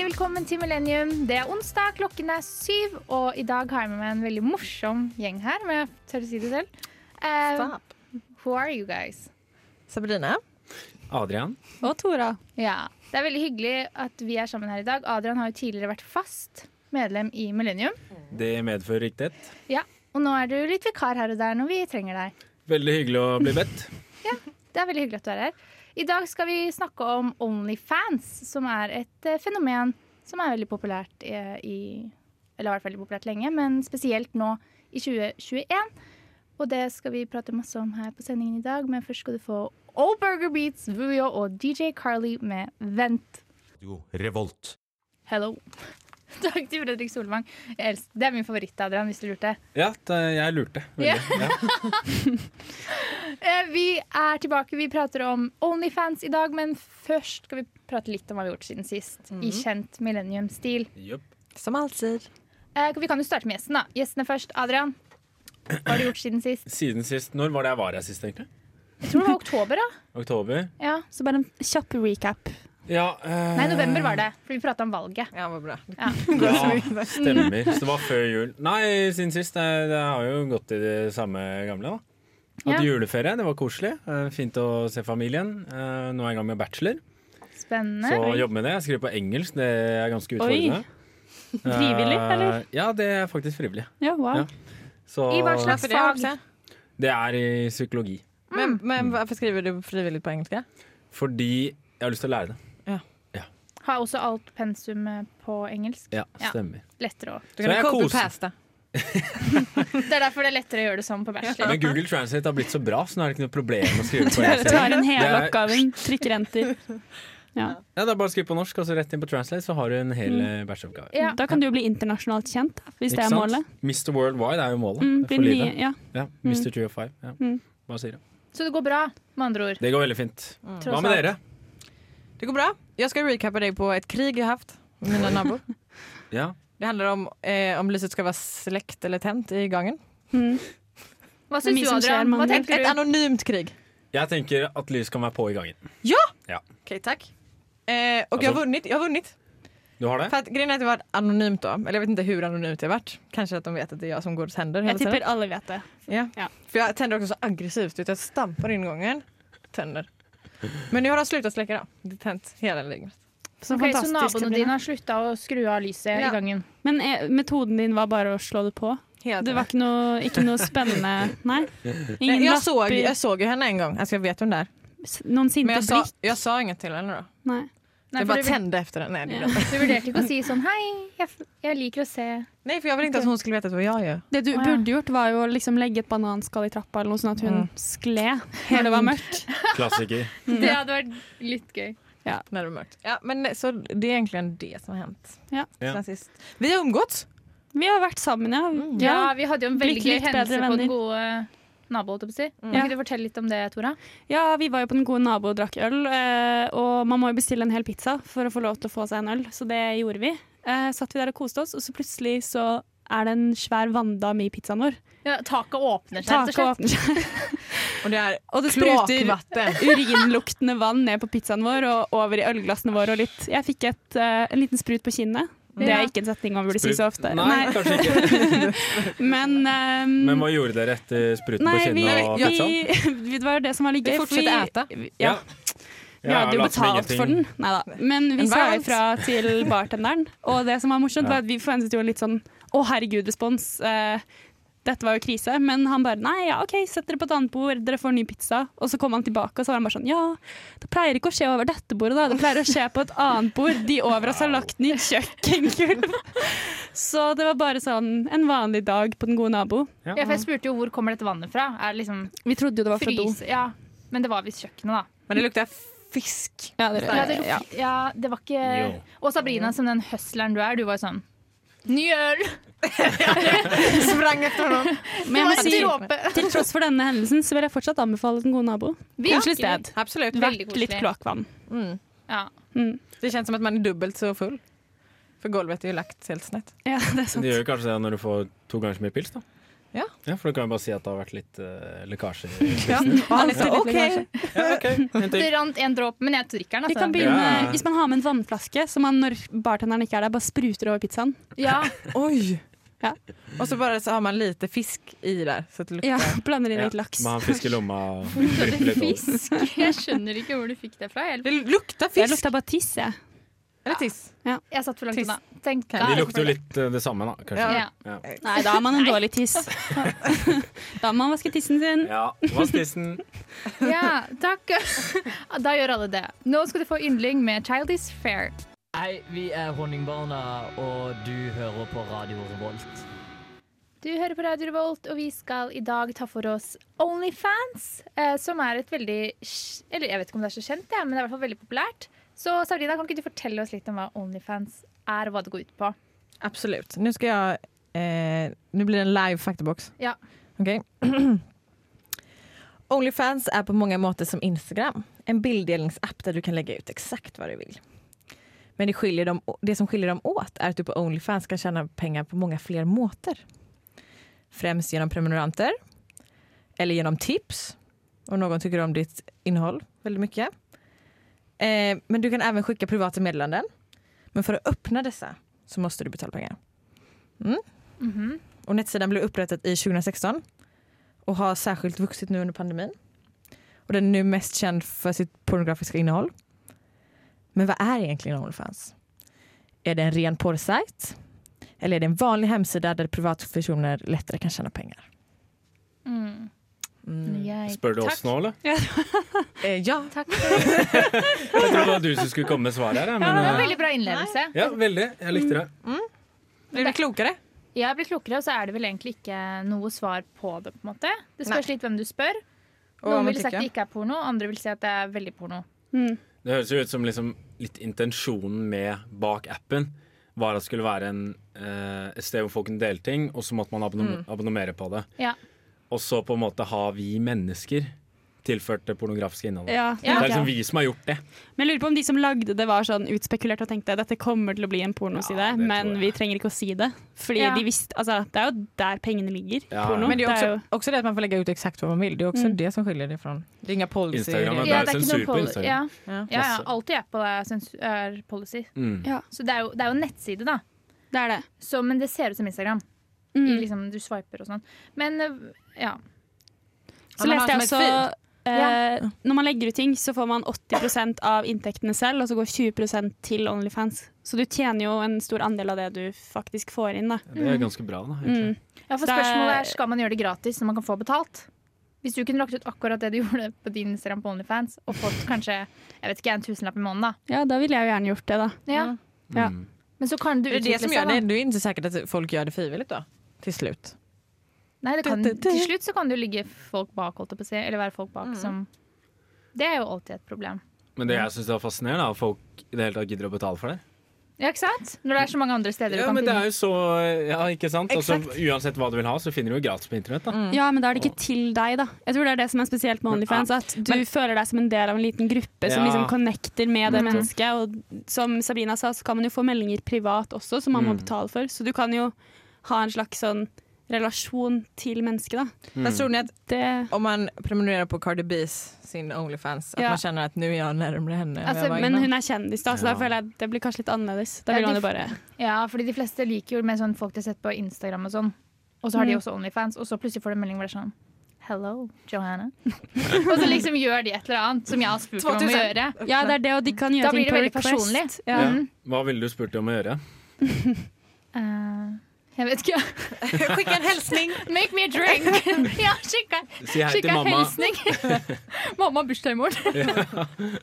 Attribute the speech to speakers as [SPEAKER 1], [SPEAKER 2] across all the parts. [SPEAKER 1] velkommen til Millennium. Det er onsdag, klokken er syv, og i dag har jeg med meg en veldig morsom gjeng her. Om jeg tør å si det selv. Eh,
[SPEAKER 2] Stop.
[SPEAKER 1] who are you guys?
[SPEAKER 2] Sabrina
[SPEAKER 3] Adrian.
[SPEAKER 2] og Tora.
[SPEAKER 1] Ja, Det er veldig hyggelig at vi er sammen her i dag. Adrian har jo tidligere vært fast medlem i Millennium.
[SPEAKER 3] Det medfører riktighet.
[SPEAKER 1] Ja, Og nå er du litt vikar her og der når vi trenger deg.
[SPEAKER 3] Veldig hyggelig å bli bedt.
[SPEAKER 1] Det er veldig hyggelig at du er her. I dag skal vi snakke om Onlyfans, som er et eh, fenomen som er veldig populært i, i Eller har vært veldig populært lenge, men spesielt nå i 2021. Og det skal vi prate masse om her på sendingen i dag, men først skal du få All Burger Beats, Vujo og DJ Carly med Vent.
[SPEAKER 4] Radio Revolt.
[SPEAKER 1] Hello. Takk til Fredrik Solvang. Jeg elsker- Det er min favoritt, Adrian, hvis du lurte.
[SPEAKER 3] Ja, det- jeg lurte. Veldig. Ja.
[SPEAKER 1] Eh, Vi er tilbake. Vi prater om Onlyfans i dag, men først skal vi prate litt om hva vi har gjort siden sist. I
[SPEAKER 5] Mhm.
[SPEAKER 1] kjent millennium-stil.
[SPEAKER 3] Jupp.
[SPEAKER 2] Som alltid.
[SPEAKER 1] Eh, Vi kan jo starte med gjesten, da. Gjestene først. Adrian, hva har du gjort siden sist?
[SPEAKER 3] Siden sist. Når var det jeg var her sist, egentlig?
[SPEAKER 1] Jeg tror det var oktober, da.
[SPEAKER 3] Oktober?
[SPEAKER 1] Ja.
[SPEAKER 5] Så bare en kjapp recap.
[SPEAKER 3] Ja. eh,
[SPEAKER 1] Nei, november var det, for vi prata om valget.
[SPEAKER 2] Ja, det var bra.
[SPEAKER 3] Ja, stemmer. Så det var før jul. Nei, siden sist. Det, det har jo gått i det samme gamle, da. Hatt
[SPEAKER 1] Ja.
[SPEAKER 3] juleferie, det var koselig. Eh, Fint å se familien. Eh, Nå er jeg i gang med bachelor, så
[SPEAKER 1] Spennende.
[SPEAKER 3] jobb med det. Jeg skriver på engelsk, det er ganske utfordrende.
[SPEAKER 5] Frivillig,
[SPEAKER 3] Eh,
[SPEAKER 5] eller?
[SPEAKER 3] Ja, det er faktisk frivillig.
[SPEAKER 5] Ja, wow.
[SPEAKER 3] Ja. Så
[SPEAKER 1] I hva slags-
[SPEAKER 2] Hvorfor det, har du ikke?
[SPEAKER 3] Det er i psykologi.
[SPEAKER 2] Men, men hvorfor skriver du frivillig på engelsk? ja?
[SPEAKER 3] Fordi jeg har lyst til å lære det.
[SPEAKER 1] Har også alt pensumet på engelsk.
[SPEAKER 3] Ja,
[SPEAKER 1] Ja.
[SPEAKER 3] stemmer.
[SPEAKER 1] Lettere å
[SPEAKER 2] Du
[SPEAKER 3] Så jeg
[SPEAKER 2] kan
[SPEAKER 3] koser-
[SPEAKER 2] copy-paste.
[SPEAKER 1] Det er derfor det er lettere å gjøre det sånn på bachelor.
[SPEAKER 3] Men Google Translate har blitt så bra, så nå er det ikke noe problem å skrive på
[SPEAKER 5] Bare
[SPEAKER 3] engelsk.
[SPEAKER 5] tar en hel
[SPEAKER 3] Det er-
[SPEAKER 5] oppgave, trykker enter. Ja.
[SPEAKER 3] Ja, det er bare å skrive på norsk, og så rett inn på Translate, så har du en hel eh, bacheloroppgave.
[SPEAKER 1] Ja.
[SPEAKER 5] Da kan du jo bli internasjonalt kjent, da, hvis det
[SPEAKER 3] Ikke
[SPEAKER 5] Mm. er
[SPEAKER 3] sant?
[SPEAKER 5] målet.
[SPEAKER 3] Mr. Worldwide er jo målet
[SPEAKER 5] Mm, bli
[SPEAKER 3] for
[SPEAKER 5] nye,
[SPEAKER 3] livet.
[SPEAKER 5] ja.
[SPEAKER 3] Ja, Mr. 305. Ja.
[SPEAKER 5] Mm.
[SPEAKER 3] Bare sier det.
[SPEAKER 1] Så det går bra, med andre ord.
[SPEAKER 3] Det går veldig fint.
[SPEAKER 5] Mm.
[SPEAKER 1] Tross
[SPEAKER 3] Mm. Hva med
[SPEAKER 1] alt.
[SPEAKER 3] dere?
[SPEAKER 2] Det går bra. Jeg skal recappe deg på et krig jeg har hatt med mine naboer.
[SPEAKER 3] Ja.
[SPEAKER 2] Det handler om eh, om lyset skal være slekt eller tent i gangen.
[SPEAKER 5] Mm.
[SPEAKER 1] Hva
[SPEAKER 5] Mye
[SPEAKER 1] syns du,
[SPEAKER 5] som skjer,
[SPEAKER 1] Adrian? Hva
[SPEAKER 5] mann.
[SPEAKER 1] tenkte
[SPEAKER 2] Et
[SPEAKER 1] du?
[SPEAKER 2] anonymt krig.
[SPEAKER 3] Jeg tenker at lys kan være på i gangen.
[SPEAKER 2] Ok, takk. Eh, og jeg har
[SPEAKER 3] Altså-
[SPEAKER 2] vunnet. Jeg har vunnet.
[SPEAKER 3] Du har det?
[SPEAKER 2] For at, grejen er at det var anonymt da. Eller jeg vet ikke hvor anonymt det har vært. Kanskje at de vet at det er jeg som går og tender hele
[SPEAKER 5] Jeg
[SPEAKER 2] tiden.
[SPEAKER 5] tipper alle vet det.
[SPEAKER 2] Ja.
[SPEAKER 5] Ja.
[SPEAKER 2] För jag tänder också så aggressivt ut. Jag stampar ingången, tänder. Men nu har de slutat släcka då. Det har tänt hela lägenheten.
[SPEAKER 5] Så
[SPEAKER 1] Ok, så
[SPEAKER 5] fantastisk.
[SPEAKER 1] naboene
[SPEAKER 5] det blir.
[SPEAKER 1] dine har slutta å skru av lyset
[SPEAKER 2] Ja.
[SPEAKER 1] i gangen?
[SPEAKER 5] Men eh, metoden din var bare å slå det på?
[SPEAKER 2] Hela
[SPEAKER 5] Det
[SPEAKER 2] tiden.
[SPEAKER 5] var ikke noe, ikke noe spennende Nei?
[SPEAKER 2] Nej,
[SPEAKER 5] Ingen
[SPEAKER 2] jag, såg,
[SPEAKER 5] lapper,
[SPEAKER 2] jag såg ju henne en gång, alltså jag vet vem det är.
[SPEAKER 5] s- noen
[SPEAKER 2] Men
[SPEAKER 5] sinte
[SPEAKER 2] jag sa,
[SPEAKER 5] blikk?
[SPEAKER 2] jag sa inget till henne då.
[SPEAKER 5] Nei.
[SPEAKER 1] Nei,
[SPEAKER 2] jag
[SPEAKER 1] for
[SPEAKER 2] bara
[SPEAKER 1] du, vur-
[SPEAKER 2] tände efter henne. Nej, det gjorde
[SPEAKER 5] Ja.
[SPEAKER 2] jag inte.
[SPEAKER 1] du vurderte ikke å si sånn Hei, jeg, f- jeg liker å se
[SPEAKER 2] Nej, för jag vill inte att hon skulle veta att det var jag ju.
[SPEAKER 5] Det du
[SPEAKER 1] Å, ja.
[SPEAKER 5] burde gjort, var jo å liksom legge et bananskall i trappa, eller noe sånn at hun
[SPEAKER 2] Mm.
[SPEAKER 5] skled når det var mørkt.
[SPEAKER 3] Klassiker.
[SPEAKER 1] Det hadde vært litt gøy.
[SPEAKER 2] När det var mörkt. Ja, men så det är egentligen det som har hänt.
[SPEAKER 5] Ja.
[SPEAKER 3] Ja.
[SPEAKER 2] Sen sist. Vi har umgåtts.
[SPEAKER 5] Vi har vært sammen, ja.
[SPEAKER 1] Ja, vi hadde jo en veldig gøy
[SPEAKER 5] Blitt litt bedre
[SPEAKER 1] hendelse på
[SPEAKER 5] venner.
[SPEAKER 1] den gode naboen, holdt jeg på å si. Kan
[SPEAKER 5] Ja.
[SPEAKER 1] ikke du fortelle litt om det, Tora?
[SPEAKER 5] Ja, vi var jo på Den gode nabo og drakk øl, eh, og man må jo bestille en hel pizza for å få lov til å få seg en øl, så det gjorde vi. Eh, Satt vi der og koste oss, og så plutselig så er det en svær vanndam i pizzaen vår.
[SPEAKER 1] Ja, taket åpner seg, rett og
[SPEAKER 5] Taket
[SPEAKER 1] slett.
[SPEAKER 5] åpner seg,
[SPEAKER 2] Och det är
[SPEAKER 5] og det spruter
[SPEAKER 2] kloakvatten.
[SPEAKER 5] urinluktende vann ned på pizzaen vår og over i ølglassene våre og litt. Jeg fikk et, eh, en liten sprut på kinnet. Det
[SPEAKER 1] Ja.
[SPEAKER 5] er ikke en setning man burde si så ofte.
[SPEAKER 3] Nei,
[SPEAKER 5] Nei,
[SPEAKER 3] kanskje ikke.
[SPEAKER 5] men ehm,
[SPEAKER 3] Men hva gjorde dere etter spruten på
[SPEAKER 5] Nei, vi,
[SPEAKER 3] kinnet og pizzaen?
[SPEAKER 5] vi, det var det som var litt
[SPEAKER 2] Vi
[SPEAKER 5] gøy. for vi-
[SPEAKER 2] fortsetter å
[SPEAKER 5] vi- Ja, Vi hadde jo
[SPEAKER 3] la som
[SPEAKER 5] betalt for den,
[SPEAKER 3] ingenting.
[SPEAKER 5] Neida. men vi
[SPEAKER 2] En
[SPEAKER 5] sa
[SPEAKER 2] vals.
[SPEAKER 5] ifra til bartenderen. Og det som var morsomt,
[SPEAKER 3] Ja.
[SPEAKER 5] var at vi forventet jo en litt sånn å herregud-respons. Eh, dette var jo krise, men han bare nei, ja, OK, sett dere på et annet bord, dere får ny pizza. Og så kom han tilbake, og så var han bare sånn ja, det pleier ikke å skje over dette bordet, da. Det pleier å skje på et annet bord. De over oss har lagt ny kjøkkengulv. Så det var bare sånn en vanlig dag på Den gode nabo.
[SPEAKER 1] Ja, for jeg spurte jo hvor kommer dette vannet fra. Er det liksom
[SPEAKER 5] Vi trodde jo det var fra do.
[SPEAKER 1] frys... Ja. Men det var visst kjøkkenet, da.
[SPEAKER 2] Men det luktar fisk.
[SPEAKER 5] Ja, det,
[SPEAKER 1] Ja, det, luk-
[SPEAKER 5] ja.
[SPEAKER 1] ja, det var ikke
[SPEAKER 3] Jo.
[SPEAKER 1] Og Sabrina, som den hustleren du er, du var jo sånn Ny øl!
[SPEAKER 2] Sprang efter honom.
[SPEAKER 5] Men jeg må
[SPEAKER 1] Det var
[SPEAKER 5] si,
[SPEAKER 1] en dråpe.
[SPEAKER 5] til tross for denne hendelsen, så vil jeg fortsatt anbefale Den gode nabo. Koselig sted.
[SPEAKER 2] Absolut.
[SPEAKER 1] Veldig
[SPEAKER 5] Vært litt
[SPEAKER 1] koselig.
[SPEAKER 5] kloakkvann.
[SPEAKER 2] Mm.
[SPEAKER 1] Ja.
[SPEAKER 2] Det känns som att man är dubbelt så full. För golvet är ju lagt helt snett.
[SPEAKER 5] Ja, det er sant.
[SPEAKER 3] Det gjør jo kanskje det når du får to ganger så mye pils, da. Ja, for du kan jo bare si at det har vært litt eh, lekkasjer.
[SPEAKER 2] Ja. Og han sa
[SPEAKER 5] Alltid litt
[SPEAKER 2] OK.
[SPEAKER 3] Ja, ok, en
[SPEAKER 1] Det
[SPEAKER 3] til.
[SPEAKER 1] rant en dråpe, men jeg drikker den.
[SPEAKER 5] Vi
[SPEAKER 1] Altså.
[SPEAKER 5] kan begynne,
[SPEAKER 3] Ja, ja.
[SPEAKER 5] Hvis man har med en vannflaske, så man når bartenderen ikke er der, bare spruter over pizzaen.
[SPEAKER 1] Ja,
[SPEAKER 2] Oj!
[SPEAKER 5] Ja.
[SPEAKER 2] Och så bara så har man lite fisk i där. Så att det luktar.
[SPEAKER 5] Ja, Blander inn
[SPEAKER 3] Ja,
[SPEAKER 5] litt laks.
[SPEAKER 3] Må ha en fisk i lomma. og
[SPEAKER 1] så
[SPEAKER 3] dryppe
[SPEAKER 1] det
[SPEAKER 3] litt over.
[SPEAKER 1] fisk. Jeg skjønner ikke hvor du fikk det fra. Jeg,
[SPEAKER 2] Det luktar fisk!
[SPEAKER 5] Jeg lukta bare tiss, jeg.
[SPEAKER 2] Eller tiss.
[SPEAKER 1] jeg satt for langt
[SPEAKER 2] Tiss.
[SPEAKER 1] unna. Tenk
[SPEAKER 3] De
[SPEAKER 1] deg.
[SPEAKER 3] lukter jo litt eh, det samme, da, kanskje.
[SPEAKER 1] Ja.
[SPEAKER 3] Ja.
[SPEAKER 5] Nei, da har man en dårlig tiss. Da må man vaske tissen sin.
[SPEAKER 3] Ja, Vask tissen.
[SPEAKER 1] ja, takk. Da gjør alle det. Nå skal du få yndling med Child is fair.
[SPEAKER 4] Hei, vi er Honningbarna, og du hører på Radio Revolt.
[SPEAKER 1] Du hører på Radio Revolt, og vi skal i dag ta for oss Onlyfans. Eh, som er et veldig kj- Eller jeg vet ikke om det er så kjent, ja, men det er i hvert fall veldig populært. Så Sabrina, kan ikke du fortelle oss litt om hva Onlyfans er, og hva det går ut på?
[SPEAKER 2] Absolut. Nu ska jag... Eh, nu blir det en live faktabox.
[SPEAKER 1] Ja.
[SPEAKER 2] Okej. Onlyfans är på många måter som Instagram. En bilddelningsapp där du kan lägga ut exakt vad du vill. Men det, skiljer dem, det som skiljer dem åt är att du på Onlyfans kan tjäna pengar på många fler måter. Främst genom prenumeranter. Eller genom tips. Om någon tycker om ditt innehåll väldigt mycket. Eh, men du kan även skicka privata meddelanden. Men för att öppna dessa så måste du betala pengar.
[SPEAKER 1] Mhm.
[SPEAKER 2] Och nettsidan blev upprättad i 2016 och har särskilt vuxit nu under pandemin. Och den är nu mest känd för sitt pornografiska innehåll. Men vad är egentligen Onlyfans? Är det en ren porrsajt? Eller är det en vanlig hemsida där privatpersoner lättare kan tjäna pengar?
[SPEAKER 1] Mm. Jeg-
[SPEAKER 3] Spør du oss
[SPEAKER 1] Takk.
[SPEAKER 3] nå, eller?
[SPEAKER 2] Eh, ja,
[SPEAKER 1] Takk for
[SPEAKER 3] Jeg trodde det var du som skulle komme med svaret her.
[SPEAKER 1] det
[SPEAKER 3] Men,
[SPEAKER 1] var
[SPEAKER 3] eh,
[SPEAKER 1] veldig bra innlevelse.
[SPEAKER 3] ja, veldig. Jeg likte det.
[SPEAKER 2] blir du klokare?
[SPEAKER 1] Jeg har blitt klokere, og så er det vel egentlig ikke noe svar på det. på en måte. Det spørs litt hvem du spør.
[SPEAKER 2] Og hva
[SPEAKER 1] Noen
[SPEAKER 2] man
[SPEAKER 1] vil si at
[SPEAKER 2] tykker.
[SPEAKER 1] det ikke er porno, andre vil si at det er veldig porno.
[SPEAKER 5] Mm.
[SPEAKER 3] Det høres jo ut som liksom litt intensjonen med bak appen var at det skulle være en, eh, et sted hvor folk kunne dele ting, og så måtte man abonnom abonnere på det.
[SPEAKER 1] Ja.
[SPEAKER 3] Og så på en måte har vi mennesker tilført det pornografiske innholdet.
[SPEAKER 5] Ja,
[SPEAKER 1] Ja.
[SPEAKER 3] Det er liksom vi som har gjort det.
[SPEAKER 5] Men jeg lurer på om de som lagde det var sånn utspekulert og tenkte dette kommer til å bli en pornoside,
[SPEAKER 3] Ja, det tror
[SPEAKER 5] men
[SPEAKER 3] jeg.
[SPEAKER 5] vi trenger ikke å si det. Fordi
[SPEAKER 1] Ja.
[SPEAKER 5] de visste, altså det er jo der pengene ligger.
[SPEAKER 3] Ja,
[SPEAKER 5] porno.
[SPEAKER 2] Men det är
[SPEAKER 5] Det er
[SPEAKER 2] också,
[SPEAKER 5] jo,
[SPEAKER 2] också det att man får lägga ut exakt vad man vill. Det är också det som skiljer det från... Det är inga
[SPEAKER 3] Instagram
[SPEAKER 2] policy.
[SPEAKER 3] är-
[SPEAKER 2] Ja.
[SPEAKER 3] det er
[SPEAKER 1] ikke
[SPEAKER 3] sensur
[SPEAKER 1] noe
[SPEAKER 3] på
[SPEAKER 1] pol-
[SPEAKER 3] Instagram.
[SPEAKER 1] Ja,
[SPEAKER 2] Ja.
[SPEAKER 1] ja, ja.
[SPEAKER 3] Masse.
[SPEAKER 1] Alt i Apple er, sens- er policy.
[SPEAKER 3] Mm.
[SPEAKER 1] Så det er jo, det er jo en nettside, da.
[SPEAKER 5] det er det.
[SPEAKER 1] Så, men det ser ut som Instagram. I,
[SPEAKER 5] Mm.
[SPEAKER 1] liksom, du swiper og sånn. Men øh, ja.
[SPEAKER 5] Så
[SPEAKER 2] man har
[SPEAKER 5] leste jeg
[SPEAKER 2] som
[SPEAKER 5] også
[SPEAKER 2] et
[SPEAKER 5] eh, Når man legger ut ting, så får man 80 av inntektene selv, og så går 20 til Onlyfans. Så du tjener jo en stor andel av det du faktisk får inn, da.
[SPEAKER 3] Det er ganske bra, da.
[SPEAKER 5] Mm.
[SPEAKER 3] egentlig.
[SPEAKER 1] ja for
[SPEAKER 5] Det er-
[SPEAKER 1] spørsmålet er skal man gjøre det gratis så man kan få betalt. Hvis du kunne lagt ut akkurat det du gjorde på din Instagram på Onlyfans, og fått kanskje jeg vet ikke, en tusenlapp i måneden, da.
[SPEAKER 5] Ja, da ville jeg jo gjerne gjort det, da.
[SPEAKER 1] Ja.
[SPEAKER 2] Mm.
[SPEAKER 5] Ja.
[SPEAKER 3] Mm.
[SPEAKER 1] Men så kan du
[SPEAKER 2] Det är
[SPEAKER 1] utvikle
[SPEAKER 2] det som gör
[SPEAKER 1] seg.
[SPEAKER 2] det.
[SPEAKER 1] Da.
[SPEAKER 2] Det är inte säkert att folk gör det frivilligt då. Till slut.
[SPEAKER 1] Nei, det kan,
[SPEAKER 2] Du, du, du.
[SPEAKER 1] til slutt så kan det jo ligge folk bak, holdt jeg på å si. Eller være folk bak som Det er jo alltid et problem.
[SPEAKER 3] Men det jeg syns er fascinerende, er at folk i det hele tatt gidder å betale for det.
[SPEAKER 1] Ja, ikke sant? Når det er så mange andre steder
[SPEAKER 3] Ja,
[SPEAKER 1] du kan
[SPEAKER 3] men det er
[SPEAKER 1] finne
[SPEAKER 3] jo så Ja, ikke sant? Altså, uansett hva du vil ha, så finner du jo gratis på internett, da.
[SPEAKER 5] Ja, men da er det ikke til deg, da. Jeg tror det er det som er spesielt med Onlyfans, at du føler deg som en del av en liten gruppe som
[SPEAKER 3] Ja.
[SPEAKER 5] liksom connecter med det
[SPEAKER 1] Mm.
[SPEAKER 5] mennesket. Og som Sabrina sa, så kan man jo få meldinger privat også, som man må
[SPEAKER 3] Mm.
[SPEAKER 5] betale for. Så du kan jo ha en slags sånn relasjon til mennesket, da.
[SPEAKER 3] Mm.
[SPEAKER 2] Men tror ni att
[SPEAKER 5] Det
[SPEAKER 2] Om man prenumererer på Cardi B's sin Onlyfans, at
[SPEAKER 5] Ja.
[SPEAKER 2] man kjenner at nå er jeg nærmere henne. enn
[SPEAKER 1] Altså,
[SPEAKER 2] jeg var
[SPEAKER 5] men
[SPEAKER 2] innan.
[SPEAKER 5] hun er kjendis, da, så
[SPEAKER 3] Ja.
[SPEAKER 5] da føler jeg det blir kanskje litt annerledes. Da
[SPEAKER 1] Ja,
[SPEAKER 5] vil man
[SPEAKER 1] de-
[SPEAKER 5] jo bare
[SPEAKER 1] Ja, fordi de fleste liker jo med sånn folk de har sett på Instagram og sånn. Og så
[SPEAKER 3] Mm.
[SPEAKER 1] har de også Onlyfans, og så plutselig får de en melding hvor det er sånn Hello, Johanna. og så liksom gjør de et eller annet som jeg har spurt dem om å
[SPEAKER 2] 2000.
[SPEAKER 1] gjøre.
[SPEAKER 5] Ja, det er det, og de kan
[SPEAKER 1] Da blir
[SPEAKER 5] gjøre ting
[SPEAKER 1] det
[SPEAKER 5] på
[SPEAKER 1] veldig
[SPEAKER 5] request.
[SPEAKER 1] personlig.
[SPEAKER 5] Ja.
[SPEAKER 3] Ja. Hva ville du spurt dem om å gjøre?
[SPEAKER 1] Eh, jeg vet ikke.
[SPEAKER 2] Skicka en hilsen!
[SPEAKER 1] Make me a drink! ja, skikk en
[SPEAKER 3] Si hei
[SPEAKER 1] skikk
[SPEAKER 3] til
[SPEAKER 1] en
[SPEAKER 3] mamma.
[SPEAKER 1] hilsning. mamma har bursdag i morgen.